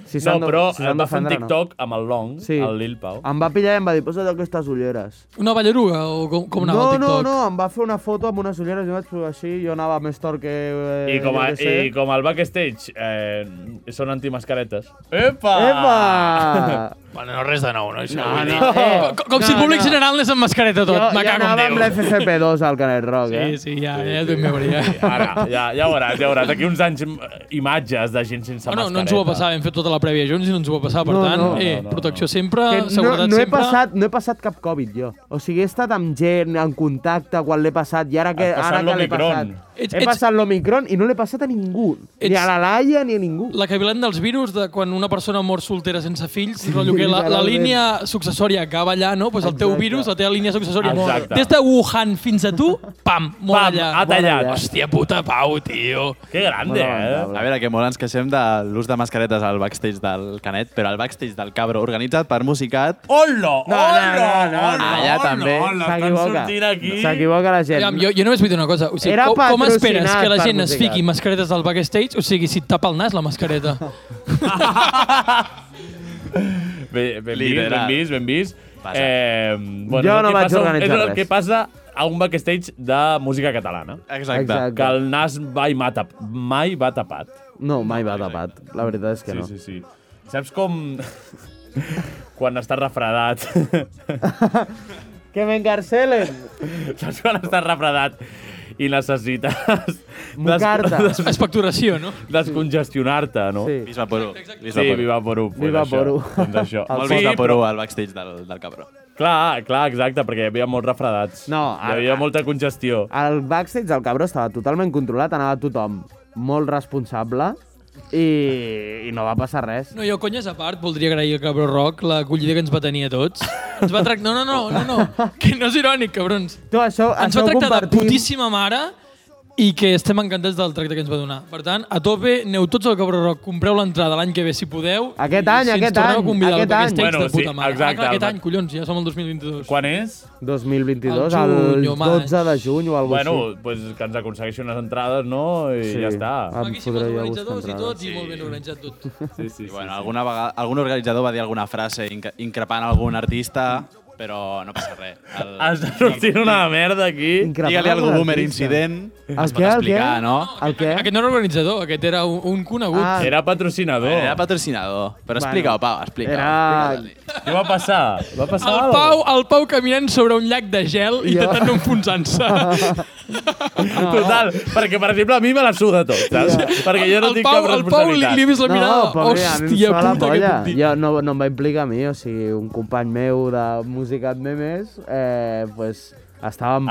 Speaker 6: Si
Speaker 2: no,
Speaker 6: s'han de-
Speaker 2: però
Speaker 6: si s'han
Speaker 2: em va fer un
Speaker 6: d'ofendre, no. Ah,
Speaker 2: TikTok amb el Long, el Lil Pau.
Speaker 6: Em va pillar i em va dir, posa't aquestes ulleres.
Speaker 8: Una ballaruga o com, com anava
Speaker 6: no,
Speaker 8: el
Speaker 6: no,
Speaker 8: TikTok?
Speaker 6: no, em va fer una foto amb unes ulleres i vaig fer així, jo anava més tort que... Eh,
Speaker 2: I com, a,
Speaker 6: jo què sé.
Speaker 2: I com al backstage eh, són antimascaretes. Epa!
Speaker 6: Epa!
Speaker 8: Bueno, no res de nou, no? Això,
Speaker 2: No,
Speaker 8: vull
Speaker 2: no,
Speaker 8: dir.
Speaker 2: eh.
Speaker 8: Com, com si el
Speaker 2: No,
Speaker 8: públic
Speaker 2: no.
Speaker 8: general anés amb mascareta tot.
Speaker 6: Jo,
Speaker 8: Me
Speaker 6: jo
Speaker 8: cago en
Speaker 6: anava
Speaker 8: Déu.
Speaker 6: amb l'FCP2 al Canet Rock, eh?
Speaker 8: Sí, sí, ja, ja t'ho veuria.
Speaker 2: Ara, ja, ja veuràs, ja veuràs. D'aquí uns anys eh, imatges de gent sense
Speaker 8: No, no,
Speaker 2: mascareta.
Speaker 8: no ens ho va passar, hem fet tota la prèvia junts i no ens ho va passar, per
Speaker 2: No,
Speaker 8: tant,
Speaker 2: no.
Speaker 8: eh,
Speaker 2: No, no, no.
Speaker 8: protecció sempre,
Speaker 6: Que
Speaker 8: seguretat
Speaker 6: no he
Speaker 8: sempre.
Speaker 6: Passat, no he passat cap Covid, jo. O sigui, he estat amb gent, en contacte, quan l'he passat, i ara que,
Speaker 8: Has passat
Speaker 6: ara que l'he
Speaker 8: l'Omicron.
Speaker 6: passat.
Speaker 8: Ets-
Speaker 6: he
Speaker 8: ets-
Speaker 6: passat l'Omicron i no l'he passat a ningú. Ni
Speaker 8: Ets-
Speaker 6: a la Laia ni a ningú.
Speaker 8: La cavilent dels virus, de quan una persona mor soltera sense fills, rotllo que la, la
Speaker 6: literalment.
Speaker 8: línia successòria acaba allà, no? Pues el teu virus, la teva línia successòria.
Speaker 2: Exacte.
Speaker 8: Des de Wuhan fins a tu, pam, mor allà.
Speaker 2: ha tallat. Mor allà.
Speaker 8: Hòstia puta, Pau, tio.
Speaker 2: Que grande, eh?
Speaker 7: A veure, que molt ens queixem de l'ús de mascaretes al backstage del Canet, però al backstage del Cabro, organitzat per Musicat...
Speaker 2: Hola!
Speaker 7: Allà també.
Speaker 6: S'equivoca. S'equivoca la gent.
Speaker 8: Aviam, jo, jo només vull dir una cosa. O sigui,
Speaker 6: Era
Speaker 8: com, com esperes
Speaker 6: patrocinat
Speaker 8: que la
Speaker 6: per
Speaker 8: gent es
Speaker 6: Musicat.
Speaker 8: fiqui mascaretes al backstage? O sigui, si et tapa el nas la mascareta.
Speaker 2: Bé, ben vist,
Speaker 7: Literal.
Speaker 2: ben vist, ben vist. Eh, bueno,
Speaker 6: Jo
Speaker 2: és el
Speaker 6: no
Speaker 2: que
Speaker 6: vaig
Speaker 2: passa,
Speaker 6: organitzar
Speaker 2: És el
Speaker 6: res.
Speaker 2: que passa a un backstage de música catalana.
Speaker 7: Exacte. Exacte.
Speaker 2: Que el nas mai, va tap, mai va tapat.
Speaker 6: No, mai va tapat. La veritat és que
Speaker 2: sí,
Speaker 6: no.
Speaker 2: Sí, sí, Saps com... quan estàs refredat.
Speaker 6: Que m'encarcelen!
Speaker 2: Saps quan estàs refredat i necessites... des-
Speaker 6: Mocar-te.
Speaker 2: des-
Speaker 8: Expectoració, no?
Speaker 2: Descongestionar-te, no?
Speaker 6: Sí.
Speaker 7: Visba Perú.
Speaker 2: Sí, viva Perú. pues
Speaker 7: Viva
Speaker 2: això,
Speaker 7: Perú.
Speaker 2: Doncs això.
Speaker 7: Molt
Speaker 2: Sí,
Speaker 7: sí, de Perú
Speaker 2: però-
Speaker 7: al backstage del, del Cabro.
Speaker 2: Clar, clar, exacte, perquè hi havia molts refredats.
Speaker 6: No,
Speaker 2: hi havia molta congestió.
Speaker 6: Al backstage el cabró estava totalment controlat, anava tothom molt responsable i, i no va passar res.
Speaker 8: No, jo, conyes a part, voldria agrair al Cabró Rock l'acollida que ens va tenir a tots. Ens va tractar... No, no, no, no, no. Que no és irònic, cabrons.
Speaker 6: Tu, això,
Speaker 8: Ens
Speaker 6: això ho
Speaker 8: va tractar de
Speaker 6: compartim.
Speaker 8: putíssima mare i que estem encantats del tracte que ens va donar. Per tant, a tope, aneu tots al Cabró Rock, compreu l'entrada l'any que ve, si podeu.
Speaker 6: Aquest
Speaker 8: i
Speaker 6: any,
Speaker 8: si ens
Speaker 6: aquest
Speaker 8: torneu
Speaker 6: any,
Speaker 8: a convidar al
Speaker 6: aquest any.
Speaker 8: backstage
Speaker 6: Bueno,
Speaker 8: de puta
Speaker 6: sí,
Speaker 8: mare.
Speaker 6: exacte,
Speaker 8: ah, clar, aquest
Speaker 6: el-
Speaker 8: any, collons, ja som al 2022.
Speaker 2: Quan és?
Speaker 6: 2022,
Speaker 8: Al
Speaker 6: el,
Speaker 8: juny o maig.
Speaker 6: 12 de juny o alguna
Speaker 2: Bueno, pues que ens aconsegueixi unes entrades, no? I
Speaker 6: Sí,
Speaker 2: ja està.
Speaker 6: em fotré jo a buscar
Speaker 8: I
Speaker 6: entrades.
Speaker 8: tot, i molt ben organitzat tot.
Speaker 2: Sí, sí,
Speaker 7: I, bueno, alguna vegada, algun organitzador va dir alguna frase inc- increpant algun artista però no passa res. El...
Speaker 2: Has de sortir una merda aquí.
Speaker 7: Digue-li al boomer incident.
Speaker 2: El què, el què?
Speaker 7: no?
Speaker 2: El què?
Speaker 8: Aquest no era organitzador, aquest era un, un conegut.
Speaker 2: Ah. Era patrocinador.
Speaker 7: Era patrocinador. Però explica-ho, Pau, explica-ho.
Speaker 2: Era... Què va passar? Va passar
Speaker 8: El Pau, el Pau caminant sobre un llac de gel i
Speaker 2: Jo.
Speaker 8: intentant no enfonsar-se.
Speaker 2: No. Total, perquè, per exemple, a mi me la suda tot, saps? Perquè jo no
Speaker 8: El
Speaker 2: tinc
Speaker 8: Pau-
Speaker 2: cap
Speaker 8: el Pau
Speaker 2: responsabilitat.
Speaker 8: li- li he vist la mirada,
Speaker 6: però mira, a mi em
Speaker 8: "Hòstia
Speaker 6: sona la
Speaker 8: puta, què
Speaker 6: polla".
Speaker 8: puc dir?
Speaker 6: Jo no, no em va implicar a mi, o sigui, un company meu de Musicat Memes, eh, pues, estàvem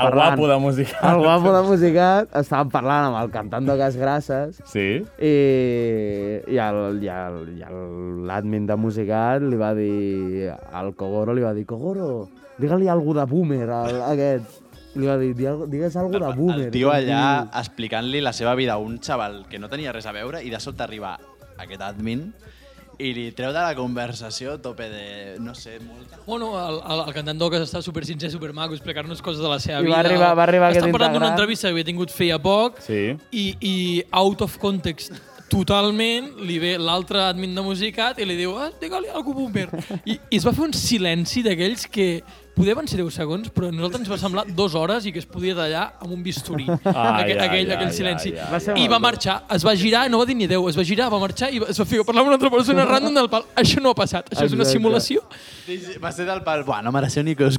Speaker 2: El
Speaker 6: parlant...
Speaker 2: guapo de Musicat.
Speaker 6: El guapo de Musicat, estàvem parlant amb el cantant de Gas Grasses,
Speaker 2: Sí?
Speaker 6: i, i el- i el- i el- l'admin de Musicat li va dir... Al Kogoro li va dir, Kogoro, digue-li algú de boomer, al, aquest. Li va dir, "Di- digues algú de boomer.
Speaker 7: El tio allà
Speaker 6: I-
Speaker 7: explicant-li la seva vida a un xaval que no tenia res a veure i de sobte arriba aquest admin i li treu de la conversació a tope de, no sé, molt...
Speaker 8: Bueno, el, el, el cantant d'Oques està super sincer, super maco, explicar-nos coses de la seva
Speaker 6: I
Speaker 8: vida.
Speaker 6: va arribar- va arribar aquest
Speaker 8: Estan parlant d'una
Speaker 6: Instagram.
Speaker 8: entrevista que havia tingut feia poc
Speaker 2: Sí.
Speaker 8: i, i out of context totalment, li ve l'altre admin de Musicat i li diu, ah, digue-li algú boomer. I, I es va fer un silenci d'aquells que poder van ser 10 segons, però a nosaltres ens va semblar dues hores i que es podia tallar amb un bisturí.
Speaker 2: Ai,
Speaker 8: aquell,
Speaker 2: ai,
Speaker 8: aquell,
Speaker 2: ai,
Speaker 8: aquell
Speaker 2: ai,
Speaker 8: silenci.
Speaker 2: ai, ai. Va ser
Speaker 8: I
Speaker 2: molt
Speaker 8: va
Speaker 2: dur.
Speaker 8: marxar, es va girar, no va dir ni adeu, es va girar, va marxar i va- es va ficar a parlar amb una altra persona random del pal. Això no ha passat, això és una
Speaker 7: Exacte.
Speaker 8: simulació.
Speaker 7: Va ser del pal, buah, no mereixeu ni que us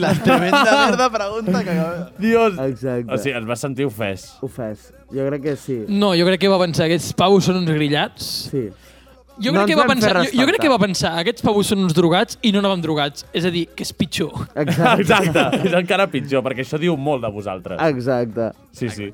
Speaker 7: la tremenda merda pregunta que acabeu.
Speaker 2: Dios!
Speaker 6: Exacte.
Speaker 2: O sigui, es va sentir ofès.
Speaker 6: Ofès. Jo crec que sí.
Speaker 8: No, jo crec que va pensar, aquests pavos són uns grillats.
Speaker 6: Sí.
Speaker 8: Jo
Speaker 6: No ens
Speaker 8: crec, que va
Speaker 6: vam fer
Speaker 8: pensar, jo, jo crec
Speaker 6: respectar.
Speaker 8: que va pensar, aquests pavos són uns drogats i no anaven drogats. És a dir, que és pitjor.
Speaker 2: Exacte. Exacte. És encara pitjor, perquè això diu molt de vosaltres.
Speaker 6: Ah. Exacte.
Speaker 2: Sí, sí.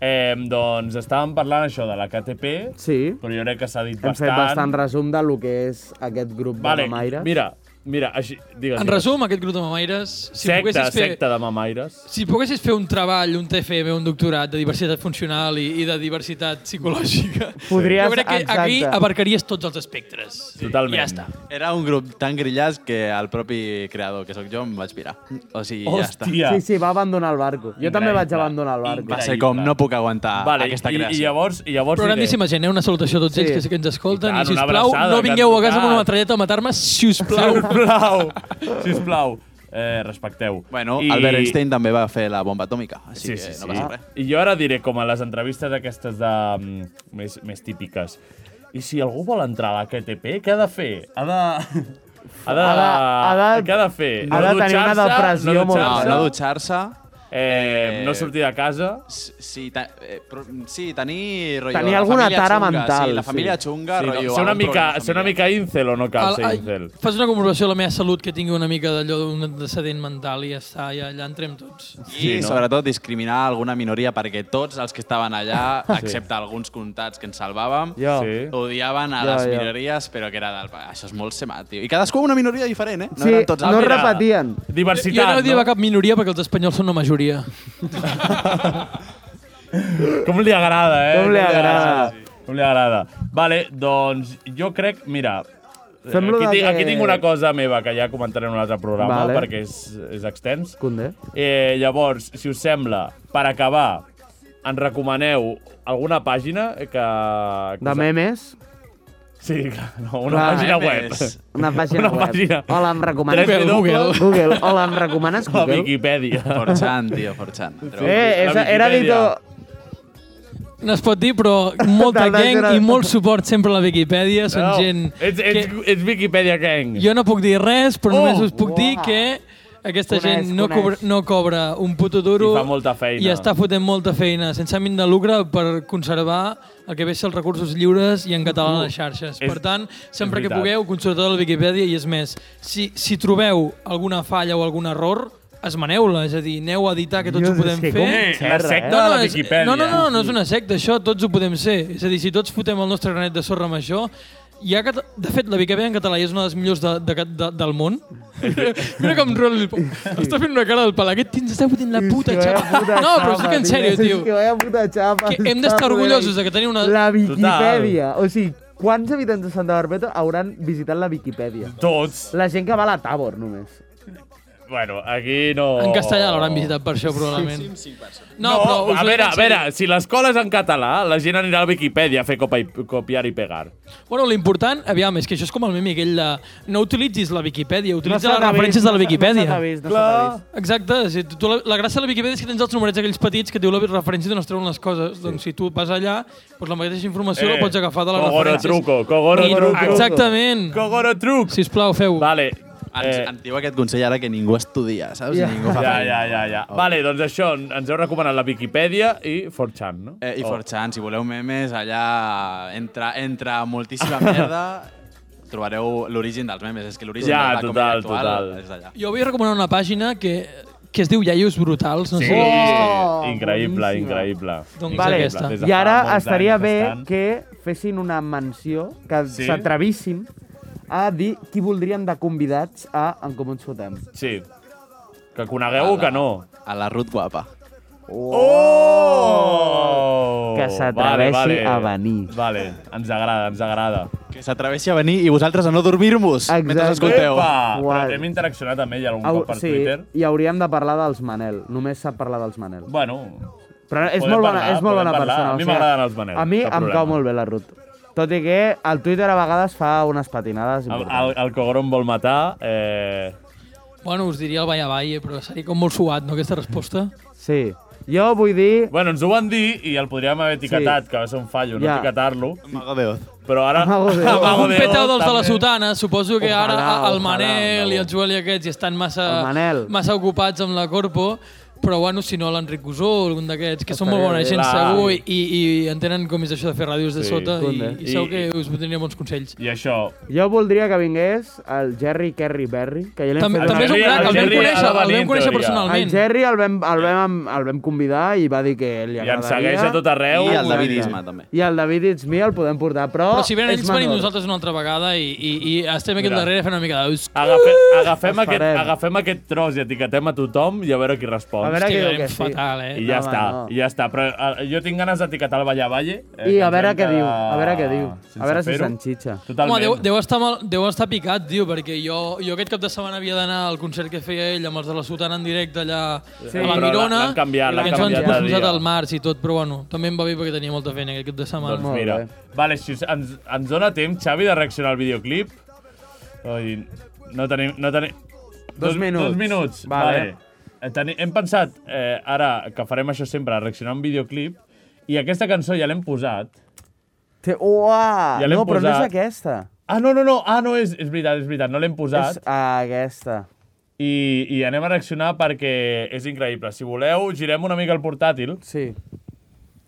Speaker 2: Eh, doncs estàvem parlant això de la KTP,
Speaker 6: sí.
Speaker 2: però jo crec que s'ha dit
Speaker 6: Hem fet
Speaker 2: bastant.
Speaker 6: bastant resum de lo que és aquest grup
Speaker 2: Vale,
Speaker 6: de Mamaires.
Speaker 2: mira, mira, així, digues. digues.
Speaker 8: En resum, aquest grup de mamaires... Si
Speaker 2: Secta,
Speaker 8: poguessis fer,
Speaker 2: secta de mamaires.
Speaker 8: Si poguessis fer un treball, un TFM, un doctorat de diversitat funcional i, i de diversitat psicològica,
Speaker 7: Podries-
Speaker 8: jo crec que
Speaker 7: exacte.
Speaker 8: aquí abarcaries tots els espectres.
Speaker 7: Totalment.
Speaker 8: Ja està.
Speaker 7: Era un grup tan grillats que el propi creador, que sóc jo, em vaig pirar. O sigui, ja
Speaker 6: Sí,
Speaker 7: està.
Speaker 6: sí, va abandonar el barco. Jo també vaig
Speaker 7: Increïble.
Speaker 6: abandonar el barco.
Speaker 7: Va ser com, no puc aguantar
Speaker 2: Ah, Vale,
Speaker 7: aquesta
Speaker 2: i- i
Speaker 7: creació.
Speaker 2: llavors- i llavors
Speaker 8: Però grandíssima gent, eh? una salutació a tots
Speaker 2: Sí.
Speaker 8: ells que, sé que ens escolten.
Speaker 2: I tant,
Speaker 8: I,
Speaker 2: una
Speaker 8: sisplau,
Speaker 2: abraçada,
Speaker 8: no vingueu a casa amb
Speaker 2: Carles.
Speaker 8: una metralleta a matar-me, sisplau.
Speaker 2: Sisplau. sisplau. Eh, respecteu.
Speaker 7: Bueno, I... Albert Einstein també va fer la bomba atòmica,
Speaker 2: Sí,
Speaker 7: així
Speaker 2: sí,
Speaker 7: que
Speaker 2: sí.
Speaker 7: no passa res.
Speaker 2: I jo ara diré com a les entrevistes aquestes de, mm, més, més típiques. I si algú vol entrar a la KTP, què ha de fer? Ha de... Ha de,
Speaker 7: Ha
Speaker 2: ha de, què ha de fer?
Speaker 7: ha de tenir una
Speaker 2: dutxar-se, Ah,
Speaker 7: depressió
Speaker 2: no
Speaker 7: molt
Speaker 2: dutxar-se,
Speaker 7: gran. No dutxar-se.
Speaker 2: Eh, no sortir de casa.
Speaker 7: Sí, ta eh, però, sí tenir... Rotllo,
Speaker 2: Tenir
Speaker 7: la
Speaker 2: alguna
Speaker 7: família
Speaker 2: tara
Speaker 7: xunga,
Speaker 2: mental,
Speaker 7: Sí, la
Speaker 2: sí.
Speaker 7: família
Speaker 2: Sí,
Speaker 7: xunga,
Speaker 2: no,
Speaker 7: rotllo...
Speaker 2: ser una
Speaker 7: algun
Speaker 2: mica-
Speaker 7: problema
Speaker 2: ser una mica incel o no cal ser incel?
Speaker 8: Fas una comprovació a la meva salut que tingui una mica d'allò d'un antecedent mental i ja està, ja, allà entrem tots.
Speaker 7: I, sobretot, discriminar alguna minoria, perquè tots els que estaven allà,
Speaker 8: Sí.
Speaker 7: excepte alguns comtats que ens salvàvem,
Speaker 8: Jo. Sí.
Speaker 7: odiaven a
Speaker 8: Jo,
Speaker 7: les
Speaker 8: jo.
Speaker 7: minories, però que era del... Això és molt semat, tio. I cadascú una minoria diferent, eh?
Speaker 6: Sí,
Speaker 7: eren tots
Speaker 6: no
Speaker 7: els- Mira,
Speaker 6: repetien.
Speaker 2: Diversitat,
Speaker 8: jo no odiava cap minoria perquè els espanyols són una majoria.
Speaker 2: Com li agrada, eh?
Speaker 8: Com li agrada.
Speaker 2: Sí, sí. Com li agrada. Vale, doncs jo crec... Mira, eh,
Speaker 6: Fem-lo
Speaker 2: aquí,
Speaker 6: de
Speaker 2: tinc,
Speaker 6: que-
Speaker 2: aquí tinc una cosa meva que ja comentaré en un altre programa
Speaker 6: Vale.
Speaker 2: vale. perquè és, és extens.
Speaker 6: Condé.
Speaker 2: Eh, llavors, si us sembla, per acabar, ens recomaneu alguna pàgina que... que
Speaker 6: De
Speaker 2: us-
Speaker 6: memes.
Speaker 2: Sí, clar, no, una
Speaker 6: Clar.
Speaker 2: pàgina
Speaker 6: Memes.
Speaker 2: web.
Speaker 6: Una pàgina
Speaker 2: una
Speaker 6: web.
Speaker 2: Pàgina.
Speaker 6: Hola, em recomanes
Speaker 2: Tres
Speaker 6: Google?
Speaker 2: W.
Speaker 6: Google. Hola, em recomanes
Speaker 2: La
Speaker 6: Google?
Speaker 2: Wikipedia.
Speaker 7: Forchan, tio, Forchan.
Speaker 6: Eh, és, era dito...
Speaker 8: No es pot dir, però molta
Speaker 2: Del
Speaker 8: gang
Speaker 2: Nacional.
Speaker 8: i molt suport sempre a la Wikipedia. Són
Speaker 2: No,
Speaker 8: gent...
Speaker 2: Ets, ets,
Speaker 8: que-
Speaker 2: ets Wikipedia gang.
Speaker 8: Jo no puc dir res, però
Speaker 2: Oh!
Speaker 8: només us puc dir
Speaker 2: Uah.
Speaker 8: que aquesta
Speaker 2: Coneix,
Speaker 8: gent no
Speaker 2: coneix.
Speaker 8: cobra, no cobra un puto duro
Speaker 2: I fa molta feina.
Speaker 8: i està fotent molta feina, sense ànim de lucre, per conservar el que ve a ser els recursos lliures i en català a les xarxes.
Speaker 2: Uh, És-
Speaker 8: per tant, sempre
Speaker 2: és
Speaker 8: que
Speaker 2: veritat.
Speaker 8: pugueu, consulteu la Viquipèdia i és més, si, si trobeu alguna falla o algun error, esmeneu-la, és a dir, aneu a editar que tots
Speaker 2: Dios,
Speaker 8: ho podem
Speaker 2: és que
Speaker 8: fer.
Speaker 2: com xerra, La secta eh? de
Speaker 8: no,
Speaker 2: la
Speaker 8: no, és-
Speaker 2: Viquipèdia.
Speaker 8: No, no, no, no és una secta, això tots ho podem ser. És a dir, si tots fotem el nostre granet de sorra amb això, hi ha cata- de fet, la Viquipèdia en català ja és una de les millors de, de, de, del món. Mira com rol el... Està fent una cara del pal. Aquest tio ens està fotent la puta xapa. No, però sí que en sèrio, tio.
Speaker 6: Que vaya puta xapa.
Speaker 8: Que hem d'estar orgullosos de que tenim una...
Speaker 6: La Viquipèdia. O sigui, quants habitants de Santa Barbeta hauran visitat la Viquipèdia?
Speaker 2: Tots.
Speaker 6: La gent que va a la Tabor, només.
Speaker 2: Bueno, aquí no...
Speaker 8: En castellà l'hauran visitat per això, probablement.
Speaker 2: No,
Speaker 8: però us ho
Speaker 2: a
Speaker 8: dic
Speaker 2: veure,
Speaker 8: en
Speaker 2: a veure,
Speaker 8: sèrio.
Speaker 2: si l'escola és en català, la gent anirà a Wikipedia a fer copa i, copiar i pegar.
Speaker 8: Bueno, l'important, aviam, és que això és com el meme aquell de... No utilitzis la Viquipèdia, utilitza
Speaker 6: No se
Speaker 8: les
Speaker 6: t'ha vist,
Speaker 8: referències de la
Speaker 6: no se- no
Speaker 8: Viquipèdia.
Speaker 6: se t'ha vist, no se t'ha vist.
Speaker 8: Exacte, si tu, tu la, la gràcia de la Viquipèdia és que tens els numerets aquells petits que et diu la referència d'on es treuen les coses. Doncs si tu vas allà, doncs la mateixa informació
Speaker 2: Eh,
Speaker 8: la pots agafar de les
Speaker 2: Kogoro
Speaker 8: referències.
Speaker 2: truco, Kogoro
Speaker 8: I-
Speaker 2: truco.
Speaker 8: Exactament.
Speaker 2: Kogoro truc.
Speaker 8: Sisplau, feu.
Speaker 2: Vale.
Speaker 7: Ens, eh. ens diu aquest consell ara que ningú estudia, saps?
Speaker 2: Ja,
Speaker 7: Yeah. Ningú fa
Speaker 2: ja,
Speaker 7: feina.
Speaker 2: ja, ja, ja. Vale, doncs això, ens heu recomanat la Viquipèdia i 4chan, no? Oh.
Speaker 7: Eh, I 4chan, si voleu memes, allà entre, entre moltíssima merda trobareu l'origen dels memes. És que l'origen
Speaker 2: Ja,
Speaker 7: de
Speaker 2: total,
Speaker 7: la comèdia actual
Speaker 2: total.
Speaker 7: és allà.
Speaker 8: Jo vull recomanar una pàgina que, que es diu Iaios Brutals. No
Speaker 2: Sí,
Speaker 8: sé si l'heu vist.
Speaker 2: increïble, increïble.
Speaker 8: Doncs
Speaker 2: Increïble.
Speaker 8: aquesta.
Speaker 2: Des de
Speaker 6: I
Speaker 2: fa
Speaker 6: ara
Speaker 2: molts
Speaker 6: estaria
Speaker 2: anys
Speaker 6: bé
Speaker 2: estan.
Speaker 6: que fessin una menció, que
Speaker 2: Sí?
Speaker 6: s'atrevissin a dir qui voldrien de convidats a En Comú ens fotem.
Speaker 2: Sí. Que conegueu o que no?
Speaker 7: A la Ruth Guapa.
Speaker 2: Oh!
Speaker 6: Que s'atreveixi a venir.
Speaker 2: Vale, ens agrada, ens agrada.
Speaker 7: Que s'atreveixi a venir i vosaltres a no dormir-vos mentre escolteu.
Speaker 2: Epa! Però hem interaccionat amb ella algun
Speaker 6: Au,
Speaker 2: cop per
Speaker 6: sí,
Speaker 2: Twitter.
Speaker 6: i hauríem de parlar dels Manel. Només sap parlar dels Manel.
Speaker 2: Bueno,
Speaker 6: Però és
Speaker 2: podem
Speaker 6: molt bona,
Speaker 2: parlar,
Speaker 6: és molt
Speaker 2: podem
Speaker 6: bona
Speaker 2: parlar.
Speaker 6: persona.
Speaker 2: A
Speaker 6: o
Speaker 2: mi
Speaker 6: sigui,
Speaker 2: m'agraden els Manel,
Speaker 6: A mi
Speaker 2: cap
Speaker 6: em
Speaker 2: problema.
Speaker 6: cau molt bé la Ruth. Tot i que al Twitter a vegades fa unes patinades
Speaker 2: el,
Speaker 6: importants.
Speaker 2: el, el Cogron vol matar... Eh...
Speaker 8: Bueno, us diria el Vaya Vaya, però seria com molt suat, no, aquesta resposta?
Speaker 6: Sí. Jo vull dir...
Speaker 2: Bueno, ens ho van dir i el podríem haver etiquetat, que va ser un fallo, no
Speaker 8: Ja.
Speaker 2: etiquetar-lo.
Speaker 7: Mago de Oz.
Speaker 2: Però ara...
Speaker 6: Mago de Oz.
Speaker 2: Mago
Speaker 8: Un
Speaker 2: de Oz
Speaker 8: peteu dels de la
Speaker 2: també.
Speaker 8: sotana, suposo que ara
Speaker 2: Ojalà,
Speaker 8: el
Speaker 2: ojalà,
Speaker 8: Manel
Speaker 2: Manel.
Speaker 8: i el Joel i aquests hi estan
Speaker 6: El
Speaker 8: massa,
Speaker 6: Manel.
Speaker 8: massa ocupats amb la Corpo, però bueno, si no l'Enric Cusó o algun d'aquests, que són molt
Speaker 6: Estaria
Speaker 8: bona
Speaker 6: bé.
Speaker 8: gent
Speaker 2: Clar.
Speaker 8: segur i, i entenen com és això de fer ràdios de
Speaker 2: Sí,
Speaker 8: sota i,
Speaker 6: conde.
Speaker 8: i, segur
Speaker 2: I-
Speaker 8: que us podria bons consells.
Speaker 2: I això...
Speaker 6: Jo voldria que vingués el Jerry Kerry Berry, que ja l'hem
Speaker 8: També,
Speaker 6: fet...
Speaker 8: també és un
Speaker 2: Jerry-
Speaker 8: crac, el
Speaker 2: el
Speaker 8: vam
Speaker 2: Jerry
Speaker 8: conèixer,
Speaker 2: ha de venir,
Speaker 8: el vam conèixer
Speaker 2: en teoria.
Speaker 6: El
Speaker 8: personalment.
Speaker 6: Jerry el vam, el vam, el vam convidar i va dir que li
Speaker 2: I
Speaker 6: agradaria.
Speaker 2: ens segueix a tot arreu.
Speaker 7: I el David Isma, també.
Speaker 6: I el David It's Me el podem portar, però...
Speaker 8: Però si venen
Speaker 6: és
Speaker 8: ells, venim
Speaker 6: menor.
Speaker 8: nosaltres una altra vegada i, i, i estem aquí al
Speaker 2: Mira.
Speaker 8: darrere fent una mica de...
Speaker 2: Agafe, agafem,
Speaker 6: Els
Speaker 2: aquest,
Speaker 6: farem.
Speaker 2: agafem aquest tros i etiquetem a tothom i a veure qui respon.
Speaker 6: A veure què diu
Speaker 8: Estic
Speaker 6: que sí.
Speaker 8: fatal, eh?
Speaker 2: I ja
Speaker 6: No,
Speaker 2: està,
Speaker 6: home, no.
Speaker 2: i ja està. Però eh, jo tinc ganes d'etiquetar el Valle Valle. eh,
Speaker 6: I a veure què diu, a veure què diu. A veure si s'enxitxa.
Speaker 2: Totalment.
Speaker 8: Home, deu, deu, estar mal, deu estar picat, tio, perquè jo, jo aquest cap de setmana havia d'anar al concert que feia ell amb els de la Sotana en directe allà
Speaker 2: Sí,
Speaker 8: a la
Speaker 2: però
Speaker 8: Mirona.
Speaker 2: l'han canviat,
Speaker 8: i
Speaker 2: l'han
Speaker 8: ens van
Speaker 2: canviat de
Speaker 8: posar
Speaker 2: dia.
Speaker 8: al març i tot, però bueno, també em va bé perquè tenia molta feina aquest cap de setmana.
Speaker 2: Doncs
Speaker 6: Molt
Speaker 2: mira.
Speaker 6: bé.
Speaker 2: Vale, si us- ens, ens dona temps, Xavi, de reaccionar al videoclip. Ai, no tenim... No tenim...
Speaker 6: Dos minuts.
Speaker 2: Dos minuts,
Speaker 6: Vale.
Speaker 2: vale. Eh, Teni, hem pensat, eh, ara, que farem això sempre, reaccionar un videoclip, i aquesta cançó ja l'hem posat.
Speaker 6: Té... Uah!
Speaker 2: Ja l'hem
Speaker 6: no, però no és
Speaker 2: posat.
Speaker 6: aquesta.
Speaker 2: Ah, no, no, no, ah, no, és, és veritat, és veritat, no l'hem posat.
Speaker 6: És ah, aquesta.
Speaker 2: I, I anem a reaccionar perquè és increïble. Si voleu, girem una mica el portàtil
Speaker 6: Sí.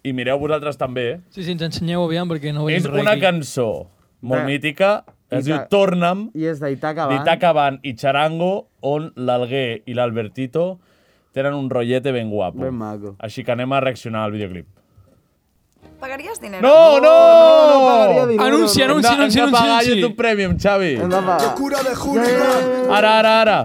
Speaker 2: i mireu vosaltres també.
Speaker 8: Sí, sí, ens ensenyeu aviam perquè no veiem
Speaker 2: és
Speaker 8: res
Speaker 2: una
Speaker 8: aquí.
Speaker 2: cançó molt
Speaker 6: De-
Speaker 2: mítica, es diu
Speaker 6: Ita-
Speaker 2: Torna'm,
Speaker 6: Eh, I és d'Itaca Bank.
Speaker 2: d'Itaca Van i Charango, on l'Alguer i l'Albertito tenen un rotllete ben guapo.
Speaker 6: Ben maco.
Speaker 2: Així que anem a reaccionar al videoclip.
Speaker 12: ¿Pagarías dinero?
Speaker 2: No, no!
Speaker 6: no pagaria dinero,
Speaker 8: Anunci,
Speaker 6: no.
Speaker 8: anunci,
Speaker 2: Hem de-
Speaker 8: anunci,
Speaker 2: Hem de pagar
Speaker 8: anunci.
Speaker 2: YouTube Premium, Xavi.
Speaker 6: Hem de pagar.
Speaker 2: Ara, ara, ara.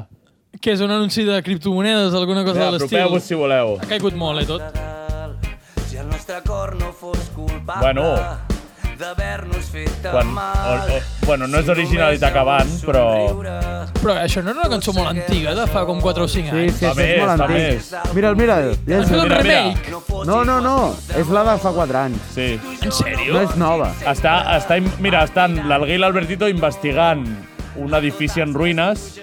Speaker 8: Que és un anunci de criptomonedes, alguna cosa
Speaker 2: Ja,
Speaker 8: de l'estil.
Speaker 2: Apropeu-vos si voleu.
Speaker 8: Ha caigut molt, eh, tot.
Speaker 1: Si el nostre cor no fos culpable
Speaker 2: Bueno.
Speaker 1: d'haver-nos fet tan
Speaker 2: Quan, o,
Speaker 1: mal.
Speaker 2: o, bueno, no és original d'Itaca Van, però...
Speaker 8: Però això no era una cançó molt antiga, de fa com 4 o 5
Speaker 6: Sí,
Speaker 8: anys.
Speaker 6: sí,
Speaker 2: Va
Speaker 6: sí,
Speaker 2: bé,
Speaker 6: és molt
Speaker 2: està
Speaker 6: antic. Mira'l, mira'l. Ja
Speaker 8: Han
Speaker 6: és...
Speaker 8: fet un
Speaker 2: Mira, mira.
Speaker 8: remake.
Speaker 6: No, no, no. És la de fa 4 anys.
Speaker 2: Sí.
Speaker 8: En sèrio?
Speaker 6: No és nova.
Speaker 2: Està, està, im- mira, estan l'Alguer i l'Albertito investigant un edifici en ruïnes.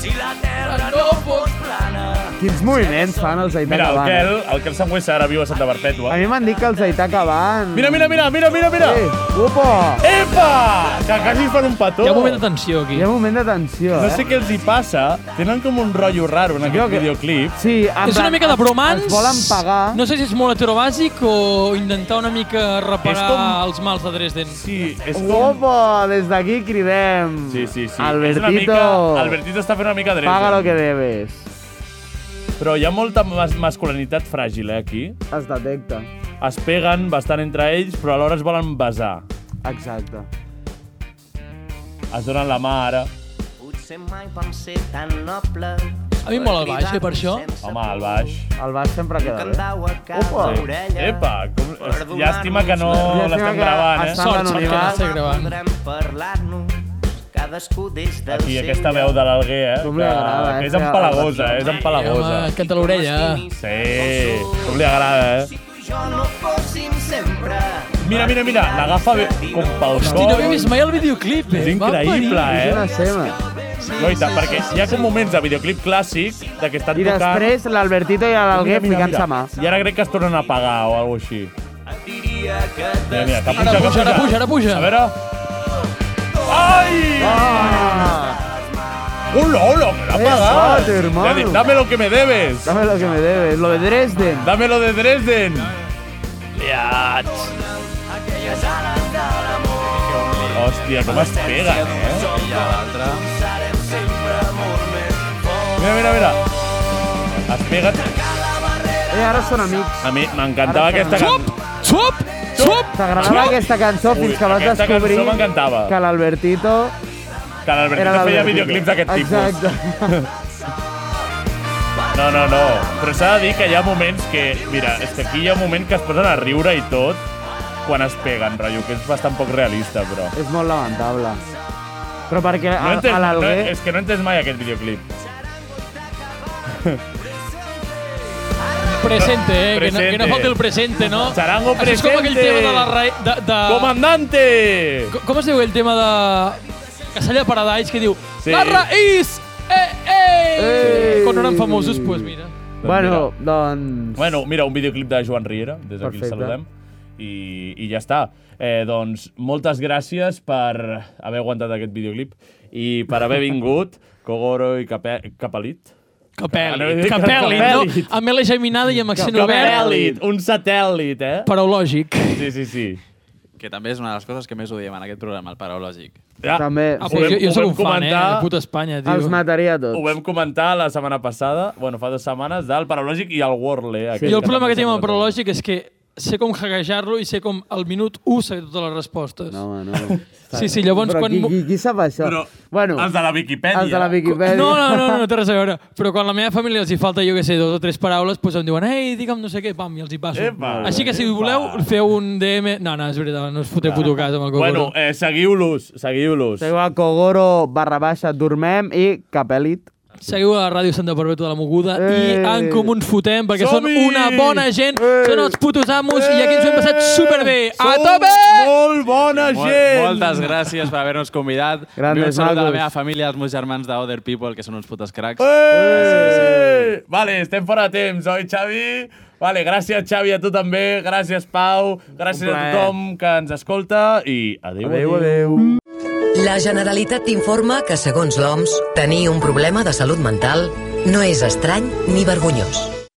Speaker 1: Si la terra no fos plana,
Speaker 6: Quins moviments fan els
Speaker 2: Mira,
Speaker 6: d'Itaca
Speaker 2: el Kel,
Speaker 6: Bank.
Speaker 2: el Kel Sangüesa ara viu a Santa
Speaker 6: A
Speaker 2: Perpètua.
Speaker 6: mi m'han dit que els d'Itaca Bank...
Speaker 2: Mira, mira, mira, mira, mira, mira!
Speaker 6: Sí. Upa!
Speaker 2: Epa! Que quasi es fan un petó.
Speaker 8: Hi ha un moment de tensió aquí. eh?
Speaker 6: Hi ha un moment de tensió,
Speaker 2: No
Speaker 6: eh?
Speaker 2: sé què els hi passa. Tenen com un rotllo raro en aquest
Speaker 6: Jo que-
Speaker 2: videoclip.
Speaker 6: Sí, en
Speaker 8: És una
Speaker 6: plan,
Speaker 8: mica de
Speaker 6: ens-
Speaker 8: bromans.
Speaker 6: Ens volen pagar.
Speaker 8: No sé si és molt heterobàsic o intentar una mica reparar
Speaker 2: És com-
Speaker 8: els mals de Dresden.
Speaker 2: Sí, és com...
Speaker 6: Opa, des d'aquí cridem.
Speaker 2: Sí, sí, sí. És una
Speaker 6: Albertito,
Speaker 2: mica, Albertito està fent una mica dreta.
Speaker 6: paga lo que debes.
Speaker 2: Però hi ha molta mas masculinitat fràgil, eh, aquí.
Speaker 6: Es detecta.
Speaker 2: Es peguen bastant entre ells, però alhora es volen besar.
Speaker 6: Exacte.
Speaker 2: Es donen la mà ara.
Speaker 12: Potser mai vam ser tan nobles.
Speaker 8: A mi em mola el baix, eh, per això.
Speaker 2: Home, al baix.
Speaker 6: El baix sempre queda bé.
Speaker 12: Candau a cap
Speaker 6: Opa.
Speaker 12: sí. orella.
Speaker 2: Epa, com... llàstima que no
Speaker 6: Llàstima
Speaker 2: l'estem
Speaker 6: que
Speaker 2: gravant, eh?
Speaker 6: està en
Speaker 8: Sort, sort que no
Speaker 6: anonimat.
Speaker 8: estic gravant.
Speaker 12: Podrem parlar-nos cada
Speaker 13: cadascú des del
Speaker 2: Aquí, aquesta veu de l'Alguer, eh? Com
Speaker 6: li agrada, eh?
Speaker 2: que és empalagosa, eh? és empalagosa.
Speaker 8: Home, canta l'orella.
Speaker 2: Sí, com li agrada, eh?
Speaker 13: Jo no fóssim sempre.
Speaker 2: Mira, mira, mira, l'agafa bé com pel
Speaker 8: Hosti, no
Speaker 2: cor.
Speaker 8: havia vist mai el videoclip, eh?
Speaker 2: És increïble, eh?
Speaker 6: seva.
Speaker 2: No, i tant, perquè hi ha com moments de videoclip clàssic de que estan
Speaker 6: I
Speaker 2: tocant...
Speaker 6: després l'Albertito i l'Alguer ficant-se a mà.
Speaker 2: I ara crec que es tornen a apagar o alguna així. Mira, mira, que puja,
Speaker 8: Ara
Speaker 2: que
Speaker 8: puja,
Speaker 2: puja.
Speaker 8: ara puja, ara puja.
Speaker 2: A veure... ¡Ay! ¡Hola, hola! ¡Me la
Speaker 6: Eh,
Speaker 2: pagas!
Speaker 6: suerte, hermano.
Speaker 2: ¡Dame lo que me debes!
Speaker 6: Dame lo que me debes, lo de Dresden.
Speaker 2: ¡Dame lo de Dresden! ¡Biach! Hòstia, com es pega, eh?
Speaker 7: I a l'altre...
Speaker 2: Mira, mira, mira. Es pega...
Speaker 6: Eh, ara són amics.
Speaker 2: A mi m'encantava
Speaker 6: Ara
Speaker 2: aquesta
Speaker 6: sona.
Speaker 2: cançó.
Speaker 8: Xup! Xup!
Speaker 6: T'agradava aquesta cançó
Speaker 2: Ui,
Speaker 6: fins que vas
Speaker 2: aquesta
Speaker 6: descobrir
Speaker 2: cançó m'encantava.
Speaker 6: que l'Albertito
Speaker 2: Que l'Albertito
Speaker 6: era
Speaker 2: feia
Speaker 6: l'Albertito.
Speaker 2: videoclips d'aquest tipus.
Speaker 6: Exacte.
Speaker 2: No, no, no. Però s'ha de dir que hi ha moments que... Mira, és que aquí hi ha un moment que es posen a riure i tot quan es peguen, rotllo, que és bastant poc realista, però...
Speaker 6: És molt lamentable. Però perquè
Speaker 2: No
Speaker 6: a,
Speaker 2: entes,
Speaker 6: Ah, a
Speaker 2: no,
Speaker 6: l'Alguer...
Speaker 2: és que no he entès mai aquest videoclip.
Speaker 8: Presente, eh? Que no, que no
Speaker 2: Presente.
Speaker 8: falta el presente, no?
Speaker 2: Charango
Speaker 8: Això és com aquell
Speaker 2: presente.
Speaker 8: tema de la... Ra... De, de...
Speaker 2: Comandante!
Speaker 8: Com, com es diu el tema de... Casalla Paradise, que diu...
Speaker 2: Sí.
Speaker 8: La raïs! Eh, eh!
Speaker 6: Ei!
Speaker 8: Quan no eren famosos, doncs pues mira.
Speaker 6: Bueno, doncs...
Speaker 2: Bueno, mira, un videoclip de Joan Riera, des d'aquí el
Speaker 6: Perfecte.
Speaker 2: saludem. I, I ja està. Eh, doncs, moltes gràcies per haver aguantat aquest videoclip i per haver vingut, Kogoro i Cape Capelit.
Speaker 8: Capèlit, capèlit, no? Amb L geminada i amb accent obert.
Speaker 2: Capèlit, un satèl·lit, eh?
Speaker 8: Paraulògic.
Speaker 2: Sí, sí, sí.
Speaker 7: Que també és una de les coses que més odiem en aquest programa, el paraulògic.
Speaker 2: Ja,
Speaker 6: També.
Speaker 8: Ah, però jo, jo sóc un fan, eh? De puta Espanya, tio.
Speaker 6: Els mataria a tots.
Speaker 2: Ho vam comentar la setmana passada, bueno, fa dues setmanes, del Paralògic i el eh, Worley.
Speaker 8: Sí. Jo el problema que tinc amb el prològic és que sé com hackejar-lo i sé com al minut 1 sé totes les respostes.
Speaker 6: No, home, no.
Speaker 8: Sí, sí, llavors
Speaker 6: Però
Speaker 8: quan...
Speaker 6: Qui,
Speaker 8: mu-
Speaker 6: qui, qui sap això?
Speaker 2: Però
Speaker 6: bueno,
Speaker 2: els de la Viquipèdia.
Speaker 6: Els de la Viquipèdia.
Speaker 8: No, no, no, no, no té res a veure. Però quan la meva família els hi falta, jo què sé, dos o tres paraules, doncs em diuen, ei, digue'm no sé què, pam, i els hi passo.
Speaker 2: Epa,
Speaker 8: Així que si
Speaker 2: epa.
Speaker 8: voleu, feu un DM... No, no, és veritat, no us foteu puto cas amb el Gogoro.
Speaker 2: Bueno, eh, seguiu-los, seguiu-los.
Speaker 6: Seguiu a Kogoro barra baixa Dormem i Capelit.
Speaker 8: Seguiu a la Ràdio Santa Perpètua de la Moguda i
Speaker 6: Eh.
Speaker 8: en comú ens fotem, perquè són
Speaker 2: Som-hi!
Speaker 8: una bona gent, són els putos amos i aquí ens ho hem passat superbé. A
Speaker 2: Som
Speaker 8: tope!
Speaker 2: Molt bona
Speaker 7: Mol,
Speaker 2: gent!
Speaker 7: moltes gràcies per haver-nos convidat.
Speaker 6: Grandes
Speaker 7: un salut a la
Speaker 6: magos.
Speaker 7: meva família, als meus germans de Other People, que són uns putes cracs.
Speaker 2: Eh! Vale, estem fora de temps, oi, Xavi? Vale, gràcies, Xavi, a tu també. Gràcies, Pau. Gràcies
Speaker 6: Un
Speaker 2: a
Speaker 6: plaer.
Speaker 2: tothom que ens escolta i adéu, adéu.
Speaker 6: adéu.
Speaker 14: La Generalitat t'informa que, segons l'OMS, tenir un problema de salut mental no és estrany ni vergonyós.